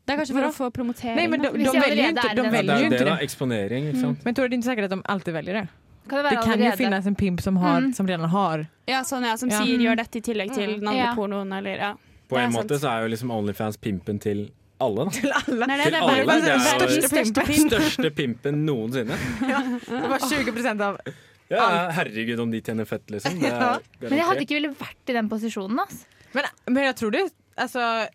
[SPEAKER 5] Det er kanskje for
[SPEAKER 2] Hvordan?
[SPEAKER 5] å få promotering.
[SPEAKER 2] Nej men de,
[SPEAKER 5] da.
[SPEAKER 2] de,
[SPEAKER 1] Hvis jag
[SPEAKER 2] väljer ju
[SPEAKER 1] allerede
[SPEAKER 2] inte,
[SPEAKER 1] är
[SPEAKER 2] de
[SPEAKER 1] den-
[SPEAKER 3] Ja, det
[SPEAKER 2] väljer
[SPEAKER 3] er
[SPEAKER 2] ju
[SPEAKER 3] jo
[SPEAKER 2] inte
[SPEAKER 3] det, da.
[SPEAKER 2] det.
[SPEAKER 3] Eksponering, ikke sant.
[SPEAKER 2] Men tror du det inte säkert att de alltid väljer det?
[SPEAKER 1] Kan det være
[SPEAKER 2] Det kan ju
[SPEAKER 1] allerede?
[SPEAKER 2] finnas en pimp som, har,
[SPEAKER 1] Mm.
[SPEAKER 2] som redan har
[SPEAKER 5] ja, sånn, ja, som
[SPEAKER 2] Ja.
[SPEAKER 5] sier 'gjør dette' i tillegg til den andre
[SPEAKER 1] Ja.
[SPEAKER 5] pornoen, eller ja.
[SPEAKER 3] På
[SPEAKER 5] Det er
[SPEAKER 3] en
[SPEAKER 5] sant.
[SPEAKER 3] måte så er jo liksom Onlyfans pimpen til alle, da.
[SPEAKER 2] till alla.
[SPEAKER 5] Nei,
[SPEAKER 3] Til
[SPEAKER 5] det er
[SPEAKER 3] alle,
[SPEAKER 5] bare
[SPEAKER 3] det er
[SPEAKER 5] den
[SPEAKER 3] jo-
[SPEAKER 5] største, største pimp.
[SPEAKER 3] Største pimpen noensinne.
[SPEAKER 2] Det var 20 procent av
[SPEAKER 3] Ja, herregud om de tjener fett, liksom. Det
[SPEAKER 2] Ja.
[SPEAKER 3] er
[SPEAKER 1] Men jeg hadde
[SPEAKER 3] garantert.
[SPEAKER 1] ikke ville vært i den posisjonen. Ass.
[SPEAKER 2] men, men jeg tror det altså,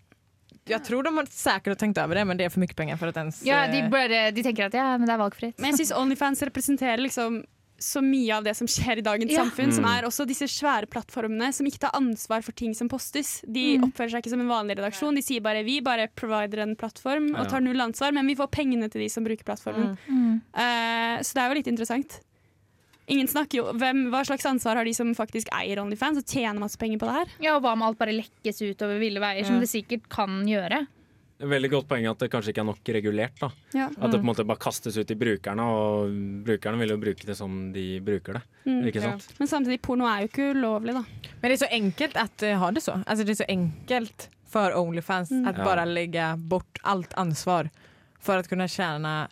[SPEAKER 2] Jeg tror de har sikkert tenkt over det, men det er for mye penger for at ens
[SPEAKER 1] Ja, de,
[SPEAKER 2] eh,
[SPEAKER 1] bare, de tenker at ja, men det er valgfritt.
[SPEAKER 5] Men jeg syns Onlyfans representerer liksom så mye av det som skjer i dagens
[SPEAKER 1] Ja.
[SPEAKER 5] samfunn,
[SPEAKER 3] Mm.
[SPEAKER 5] som er også disse svære plattformene som ikke tar ansvar for ting som postes. De oppfører seg ikke som en vanlig redaksjon. De sier bare 'vi bare provider en plattform' og tar null ansvar, men vi får pengene til de som bruker plattformen.
[SPEAKER 3] Mm.
[SPEAKER 5] Eh, så det er jo litt interessant. Ingen snakker jo hvem, Hva slags ansvar har de som faktisk eier Onlyfans og tjener masse penger på det her?
[SPEAKER 1] Ja, og hva om alt bare lekkes ut over ville veier, som
[SPEAKER 2] Ja.
[SPEAKER 1] det sikkert kan gjøre.
[SPEAKER 3] Veldig godt poeng at det kanskje ikke er nok regulert. da
[SPEAKER 5] Ja.
[SPEAKER 3] At det på en måte bare kastes ut til brukerne, og brukerne vil jo bruke det som de bruker det.
[SPEAKER 5] Mm.
[SPEAKER 3] Ikke sant?
[SPEAKER 5] Men samtidig, porno er jo ikke ulovlig, da.
[SPEAKER 2] Men det er så enkelt at eh, ha det så. Altså, det er så enkelt for Onlyfans at
[SPEAKER 3] Ja.
[SPEAKER 2] bare legge bort alt ansvar for å kunne tjene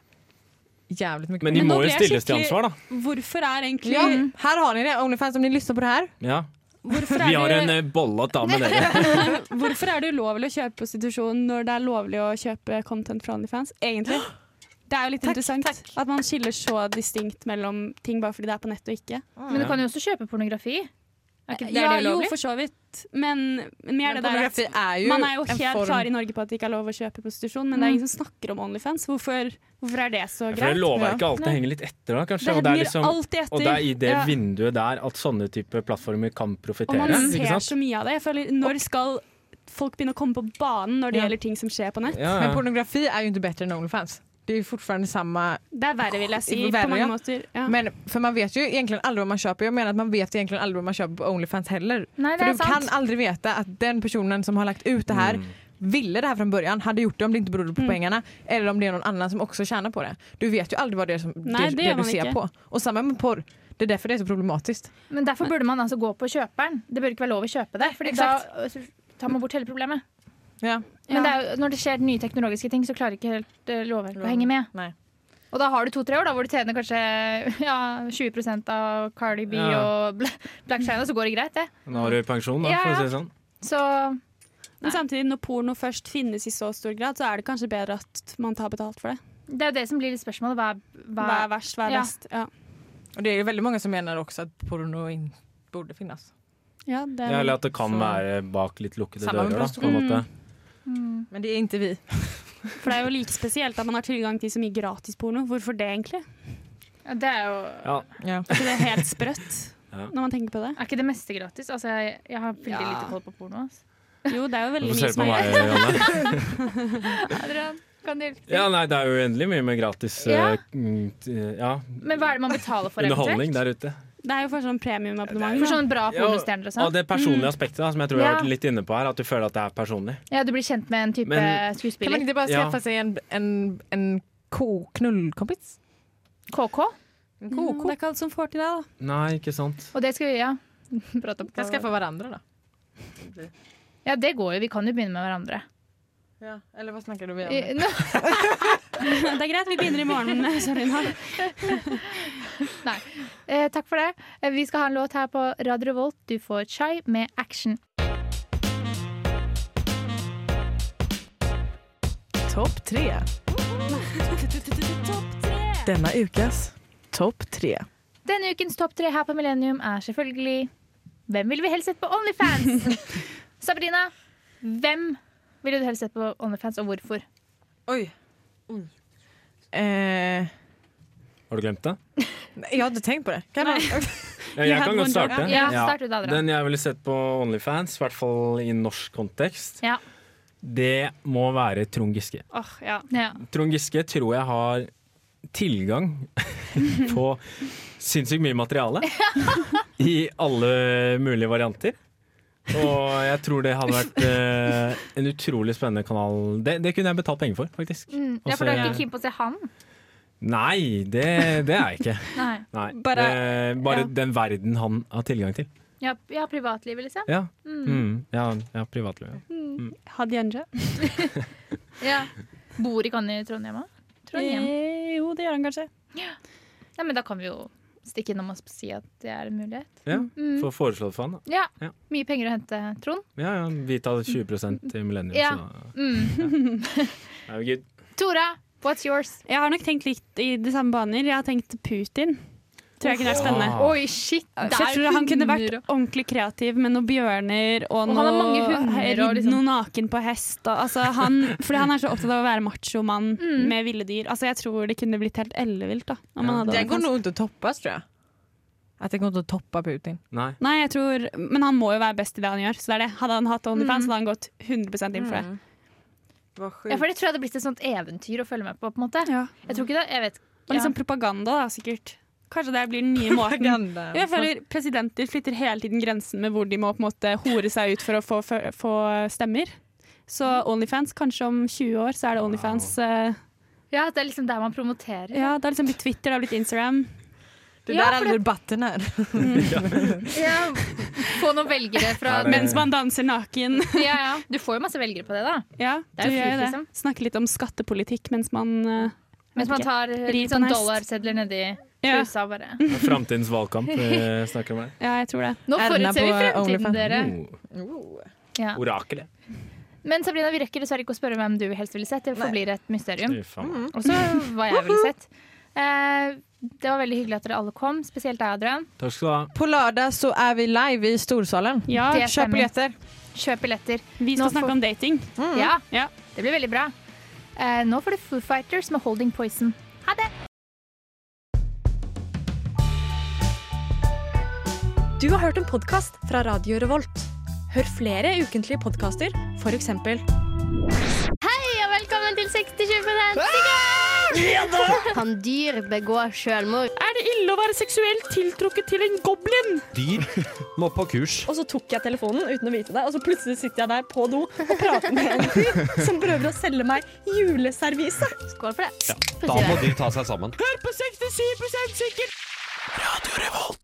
[SPEAKER 2] jævlig mye
[SPEAKER 3] Men de
[SPEAKER 5] Men nå
[SPEAKER 3] må
[SPEAKER 5] ble
[SPEAKER 3] jo
[SPEAKER 5] jeg
[SPEAKER 3] stilles til
[SPEAKER 5] skikkelig-
[SPEAKER 3] ansvar, da.
[SPEAKER 5] Hvorfor er egentlig
[SPEAKER 2] ja, her har ni det, Onlyfans, om ni lyssnar på det her.
[SPEAKER 3] Ja.
[SPEAKER 5] hvorfor er
[SPEAKER 3] Vi har
[SPEAKER 5] det-
[SPEAKER 3] en eh, bollet da med dere.
[SPEAKER 5] Hvorfor er det ulovlig å kjøpe prostitusjon når det er lovlig å kjøpe content fra OnlyFans? Egentlig. Det er jo litt interessant at man skiller så distinkt mellom ting bare fordi det er på nettet og ikke.
[SPEAKER 1] Men du kan jo også kjøpe pornografi. Er ikke det, er
[SPEAKER 5] Ja,
[SPEAKER 1] det
[SPEAKER 5] jo,
[SPEAKER 1] ulovlig?
[SPEAKER 5] for så vidt. Men mer det der at
[SPEAKER 2] Pornografi er jo
[SPEAKER 5] man er jo
[SPEAKER 2] en
[SPEAKER 5] helt
[SPEAKER 2] form- Mm.
[SPEAKER 5] klar i Norge på at det ikke er lov å kjøpe prostitusjon, men det er ingen som snakker om OnlyFans. Hvorfor, hvorfor er det så
[SPEAKER 3] For det
[SPEAKER 5] greit?
[SPEAKER 3] lovverket alltid henger litt etter, da, kanskje.
[SPEAKER 5] Det
[SPEAKER 3] Og det er,
[SPEAKER 5] henger
[SPEAKER 3] liksom,
[SPEAKER 5] alltid etter.
[SPEAKER 3] og det er i det
[SPEAKER 5] Ja.
[SPEAKER 3] vinduet der at sånne type plattformer kan
[SPEAKER 5] Og man
[SPEAKER 3] profitere. Ikke
[SPEAKER 5] ser
[SPEAKER 3] sant?
[SPEAKER 5] så mye av det. Jeg føler, når skal folk begynne å komme på banen når det
[SPEAKER 2] Ja.
[SPEAKER 5] gjelder ting som skjer på nett?
[SPEAKER 3] Ja,
[SPEAKER 2] Men
[SPEAKER 3] ja.
[SPEAKER 2] pornografi er jo ikke bedre enn Onlyfans. Det er jo fortfarande samme
[SPEAKER 5] Det er verre, vil jeg si,
[SPEAKER 2] Verre,
[SPEAKER 5] på mange
[SPEAKER 2] ja.
[SPEAKER 5] måter. Ja.
[SPEAKER 2] Men för man vet ju egentligen aldrig vad man köper. Jag menar att man vet egentligen aldrig vad man köper på Onlyfans heller.
[SPEAKER 1] Nej, det
[SPEAKER 2] för
[SPEAKER 1] är
[SPEAKER 2] du kan
[SPEAKER 1] sant.
[SPEAKER 2] aldrig veta att den personen som har lagt ut det här ville det här från början, hade gjort det om det inte berodde på
[SPEAKER 5] Mm.
[SPEAKER 2] pengarna eller om det är någon annan som också tjänar på det. Du vet ju aldrig vad det är som,
[SPEAKER 5] Nej,
[SPEAKER 2] det,
[SPEAKER 5] det
[SPEAKER 2] det
[SPEAKER 5] gör
[SPEAKER 2] du
[SPEAKER 5] man
[SPEAKER 2] ser
[SPEAKER 5] inte.
[SPEAKER 2] på. Och samma med porr. Det är därför det är så problematiskt.
[SPEAKER 1] Men derfor burde man altså gå på kjøperen. Det bør ikke være lov å kjøpe det, Fordi da øh, tar man bort hele problemet.
[SPEAKER 2] Ja.
[SPEAKER 1] Men det er jo, når det skjer nye teknologiske ting, så klarer ikke helt øh, lovverket å henge med.
[SPEAKER 2] Nej.
[SPEAKER 1] Og da har du to-tre år da, hvor du tjener kanskje ja, 20 av Cardi B
[SPEAKER 3] Ja.
[SPEAKER 1] og Bla- Black China, så går det greit, det.
[SPEAKER 3] Nå har du pensjon, da, for å si det sånn.
[SPEAKER 1] Så
[SPEAKER 5] Men samtidig, når porno først finnes i så stor grad, så er det kanskje bedre at man tar betalt for det.
[SPEAKER 1] det er jo det som blir litt spørsmålet. Hva er, hva
[SPEAKER 5] Hva er
[SPEAKER 1] er
[SPEAKER 5] verst, hva er
[SPEAKER 1] Ja.
[SPEAKER 5] best? Ja,
[SPEAKER 2] Och det är ju väldigt många som menar också att porno inte borde finnas.
[SPEAKER 5] ja det
[SPEAKER 3] Ja,
[SPEAKER 5] er
[SPEAKER 3] eller at det kan
[SPEAKER 2] Så-
[SPEAKER 3] være bak litt lukkede
[SPEAKER 2] Samme med
[SPEAKER 3] dører, da, på en
[SPEAKER 5] Mm.
[SPEAKER 3] måte.
[SPEAKER 2] Men det är inte vi.
[SPEAKER 5] For det er jo like spesielt at man har tilgang til så mye gratis porno. Hvorfor det, egentlig?
[SPEAKER 1] Ja, Det er jo
[SPEAKER 3] Ja.
[SPEAKER 2] Ja.
[SPEAKER 5] Er ikke det helt sprøtt?
[SPEAKER 3] Ja.
[SPEAKER 5] Når man tenker på det.
[SPEAKER 1] Er ikke det meste gratis? Altså, jeg, jeg har veldig
[SPEAKER 5] Ja.
[SPEAKER 1] lite koll på porno. altså. ass.
[SPEAKER 5] Jo, det er jo veldig
[SPEAKER 3] Hvorfor
[SPEAKER 5] mye
[SPEAKER 3] ser du
[SPEAKER 5] som
[SPEAKER 3] på
[SPEAKER 5] er
[SPEAKER 3] meg, Janne?
[SPEAKER 1] Adrian, kan du hjelpe til?
[SPEAKER 3] Ja, nei, det er jo uendelig mye med gratis
[SPEAKER 1] Ja.
[SPEAKER 3] eh, mm, t- eh, ja,
[SPEAKER 1] Men hva er det man betaler for
[SPEAKER 3] underholdning
[SPEAKER 1] eventuelt?
[SPEAKER 3] der ute.
[SPEAKER 5] Det er jo for sånn premiumabonnement.
[SPEAKER 1] For
[SPEAKER 5] da.
[SPEAKER 1] sånne bra
[SPEAKER 3] Ja, og,
[SPEAKER 1] pornostjerner og
[SPEAKER 3] og
[SPEAKER 1] sånn?
[SPEAKER 3] det personlige aspektet da, som jeg tror jeg har
[SPEAKER 1] Ja.
[SPEAKER 3] vært litt inne på her, at du føler at det er personlig.
[SPEAKER 1] Ja, du blir kjent med en type
[SPEAKER 3] Men-
[SPEAKER 2] Kan man
[SPEAKER 1] skuespiller.
[SPEAKER 2] inte bara
[SPEAKER 3] Ja.
[SPEAKER 2] skaffa sig en, en, en ko, knullkompis?
[SPEAKER 1] KK.
[SPEAKER 2] En
[SPEAKER 5] Ja,
[SPEAKER 2] ko,
[SPEAKER 5] Mm, Det er ikke alt som får til det, da.
[SPEAKER 3] Nei, ikke sant.
[SPEAKER 1] Og det skal vi ja. prate om.
[SPEAKER 2] Kan
[SPEAKER 1] På.
[SPEAKER 2] skaffa varandra då.
[SPEAKER 1] Ja, det går jo. Vi kan jo begynne med hverandre.
[SPEAKER 2] Ja, eller hva snakker du med
[SPEAKER 1] I-
[SPEAKER 2] om?
[SPEAKER 1] Nå,
[SPEAKER 5] Det er greit, vi begynner i morgen. med Sarina.
[SPEAKER 1] eh, takk for det. Eh, Vi skal ha en låt her på Radio Revolt. Du får Chai med Action.
[SPEAKER 2] Topp tre. Denne ukas topp tre.
[SPEAKER 1] Denne ukens topp tre her på Millennium er selvfølgelig Hvem ville vi helst sett på Onlyfans? Sabrina, hvem ville du helst sett på Onlyfans, og hvorfor?
[SPEAKER 2] Oi. Mm. Eh,
[SPEAKER 3] Har du glemt det?
[SPEAKER 2] nei, jeg hadde tenkt på det. Kan jeg bare-
[SPEAKER 3] Ja,
[SPEAKER 5] You
[SPEAKER 3] jeg
[SPEAKER 5] had
[SPEAKER 3] kan godt
[SPEAKER 5] one job,
[SPEAKER 3] starte.
[SPEAKER 1] ja. Ja, start du da, Adrian.
[SPEAKER 3] Den jeg ville sett på Onlyfans, i hvert fall i norsk kontekst,
[SPEAKER 1] Ja.
[SPEAKER 3] det må være Trond Giske.
[SPEAKER 5] Åh, ja.
[SPEAKER 1] Ja.
[SPEAKER 3] Trond Giske tror jeg har tilgang på sinnssykt mye materiale i alle mulige varianter. Og jeg tror det hadde vært eh, en utrolig spennende kanal. Det, det kunne jeg betalt penger for, faktisk.
[SPEAKER 1] Mm, ja, for du er ikke keen på å se han?
[SPEAKER 3] Nei, det, det er jeg ikke.
[SPEAKER 1] Nei.
[SPEAKER 3] Nei.
[SPEAKER 5] Bare-
[SPEAKER 3] Bare, bare
[SPEAKER 1] ja.
[SPEAKER 3] den verden han har tilgang til.
[SPEAKER 1] Ja, ja privatlivet, liksom?
[SPEAKER 3] Ja, mm. ja, ja privatliv. Ja.
[SPEAKER 5] Hadianja.
[SPEAKER 1] Ja. Bor ikke han i Trondheim òg? Trondheim.
[SPEAKER 5] Eh, Jo, det gjør han kanskje.
[SPEAKER 1] Nei, men da kan vi jo stikke innom og si at det er en mulighet.
[SPEAKER 3] Ja,
[SPEAKER 1] Mm.
[SPEAKER 3] Få foreslått for han, da.
[SPEAKER 1] Ja.
[SPEAKER 3] Ja.
[SPEAKER 1] Mye penger å hente, Trond.
[SPEAKER 3] Ja, ja, vi tar 20 til millennium,
[SPEAKER 1] Ja.
[SPEAKER 3] så da
[SPEAKER 1] Mm.
[SPEAKER 3] er vi good.
[SPEAKER 1] Tora, what's yours?
[SPEAKER 5] Jeg har nok tenkt litt i de samme baner. Jeg har tenkt Putin. Tror jeg kunne vært spennende.
[SPEAKER 3] Ah.
[SPEAKER 1] Oi, shit!
[SPEAKER 5] Så jeg tror han kunne vært ordentlig kreativ med noen bjørner og,
[SPEAKER 1] Og han har mange hunder og
[SPEAKER 5] ridd
[SPEAKER 1] liksom-
[SPEAKER 5] noe naken på hest. Og, altså, han, fordi han er så opptatt av å være machomann
[SPEAKER 1] Mm.
[SPEAKER 5] med ville dyr. Altså, jeg tror det kunne blitt helt ellevilt. da, om han hadde
[SPEAKER 2] Det går
[SPEAKER 5] OnlyFans.
[SPEAKER 2] nog inte att toppas tror jag. Att det går inte att toppa Putin.
[SPEAKER 3] Nei.
[SPEAKER 5] Nei, jeg tror, Men han må jo være best i det han gjør. Så det er det. Hadde han hatt
[SPEAKER 1] Mm.
[SPEAKER 5] OnlyFans, hadde han gått 100 inn for det.
[SPEAKER 2] Vad
[SPEAKER 1] Ja, for det tror jeg hadde blitt et sånt eventyr å følge med på. på en måte
[SPEAKER 5] Ja.
[SPEAKER 1] Jeg tror ikke det, jeg vet
[SPEAKER 5] Og litt sånn propaganda, da, sikkert. Kanskje det blir den nye måten.
[SPEAKER 2] Propaganda.
[SPEAKER 5] Jeg føler Presidenter flytter hele tiden grensen med hvor de må på en måte hore seg ut for å få, få- få stemmer.
[SPEAKER 1] Mm.
[SPEAKER 5] Så Onlyfans, kanskje om 20 år så er det Onlyfans. eh,
[SPEAKER 1] Ja, at det er liksom der man promoterer.
[SPEAKER 5] Ja, Det har liksom blitt Twitter, det har blitt Instagram.
[SPEAKER 2] Det
[SPEAKER 1] Ja,
[SPEAKER 2] där
[SPEAKER 1] för
[SPEAKER 2] är debatten här.
[SPEAKER 1] Ja. Få noen velgere fra
[SPEAKER 3] Ja, det-
[SPEAKER 5] Mens man danser naken.
[SPEAKER 1] ja, ja. Du får jo masse velgere på det, da.
[SPEAKER 5] ja,
[SPEAKER 1] Det er
[SPEAKER 5] du
[SPEAKER 1] jo
[SPEAKER 5] gjør jo
[SPEAKER 1] fint, liksom.
[SPEAKER 5] det. Snakke litt om skattepolitikk mens man eh,
[SPEAKER 1] Mens man
[SPEAKER 5] ikke.
[SPEAKER 1] tar eh,
[SPEAKER 5] Rir
[SPEAKER 1] litt
[SPEAKER 5] på
[SPEAKER 1] sånn
[SPEAKER 5] en hest.
[SPEAKER 1] dollarsedler nedi
[SPEAKER 5] Ja.
[SPEAKER 1] trusa og bare
[SPEAKER 3] Framtidens valgkamp vi snakker om her.
[SPEAKER 5] Ja, jeg tror det.
[SPEAKER 1] Nå
[SPEAKER 2] Erna
[SPEAKER 1] forutser vi
[SPEAKER 2] på
[SPEAKER 1] fremtiden,
[SPEAKER 2] OnlyFans.
[SPEAKER 1] dere.
[SPEAKER 5] Mm.
[SPEAKER 1] Ja.
[SPEAKER 3] Oh, Orakelet.
[SPEAKER 1] Men Sabrina, vi rekker dessverre ikke å spørre hvem du helst ville sett. Det forblir et mysterium.
[SPEAKER 3] Fy faen.
[SPEAKER 1] Og så hva jeg ville sett. Eh, det var veldig hyggelig at dere alle kom, spesielt deg, Adrian.
[SPEAKER 3] Takk skal du ha.
[SPEAKER 2] På lördag så är vi live i Storsalen.
[SPEAKER 5] Ja,
[SPEAKER 1] Det
[SPEAKER 2] Köp
[SPEAKER 1] stämmer.
[SPEAKER 2] biljetter.
[SPEAKER 1] Kjøp billetter.
[SPEAKER 5] Vi skal
[SPEAKER 1] Nå får-
[SPEAKER 5] snakke om dating.
[SPEAKER 10] Mm.
[SPEAKER 1] Ja,
[SPEAKER 5] Ja.
[SPEAKER 1] det blir veldig bra. Eh, nå får du Foo Fighters med Holding Poison. Ha det!
[SPEAKER 10] Du har hørt en podkast fra Radio Revolt. Hør flere ukentlige podkaster, f.eks.
[SPEAKER 7] Ja, velkommen til 60-20 Kan dyr begå selvmord?
[SPEAKER 5] Er det ille å være seksuelt tiltrukket til en goblin?
[SPEAKER 11] Dyr må på kurs.
[SPEAKER 10] Og så tok jeg telefonen uten å vite det, og så plutselig sitter jeg der på do og prater med en fyr som prøver å selge meg juleservise.
[SPEAKER 7] Skål for det.
[SPEAKER 11] Da må de ta seg sammen.
[SPEAKER 9] Hør på 67 sikkert!
[SPEAKER 11] Radio Revolt.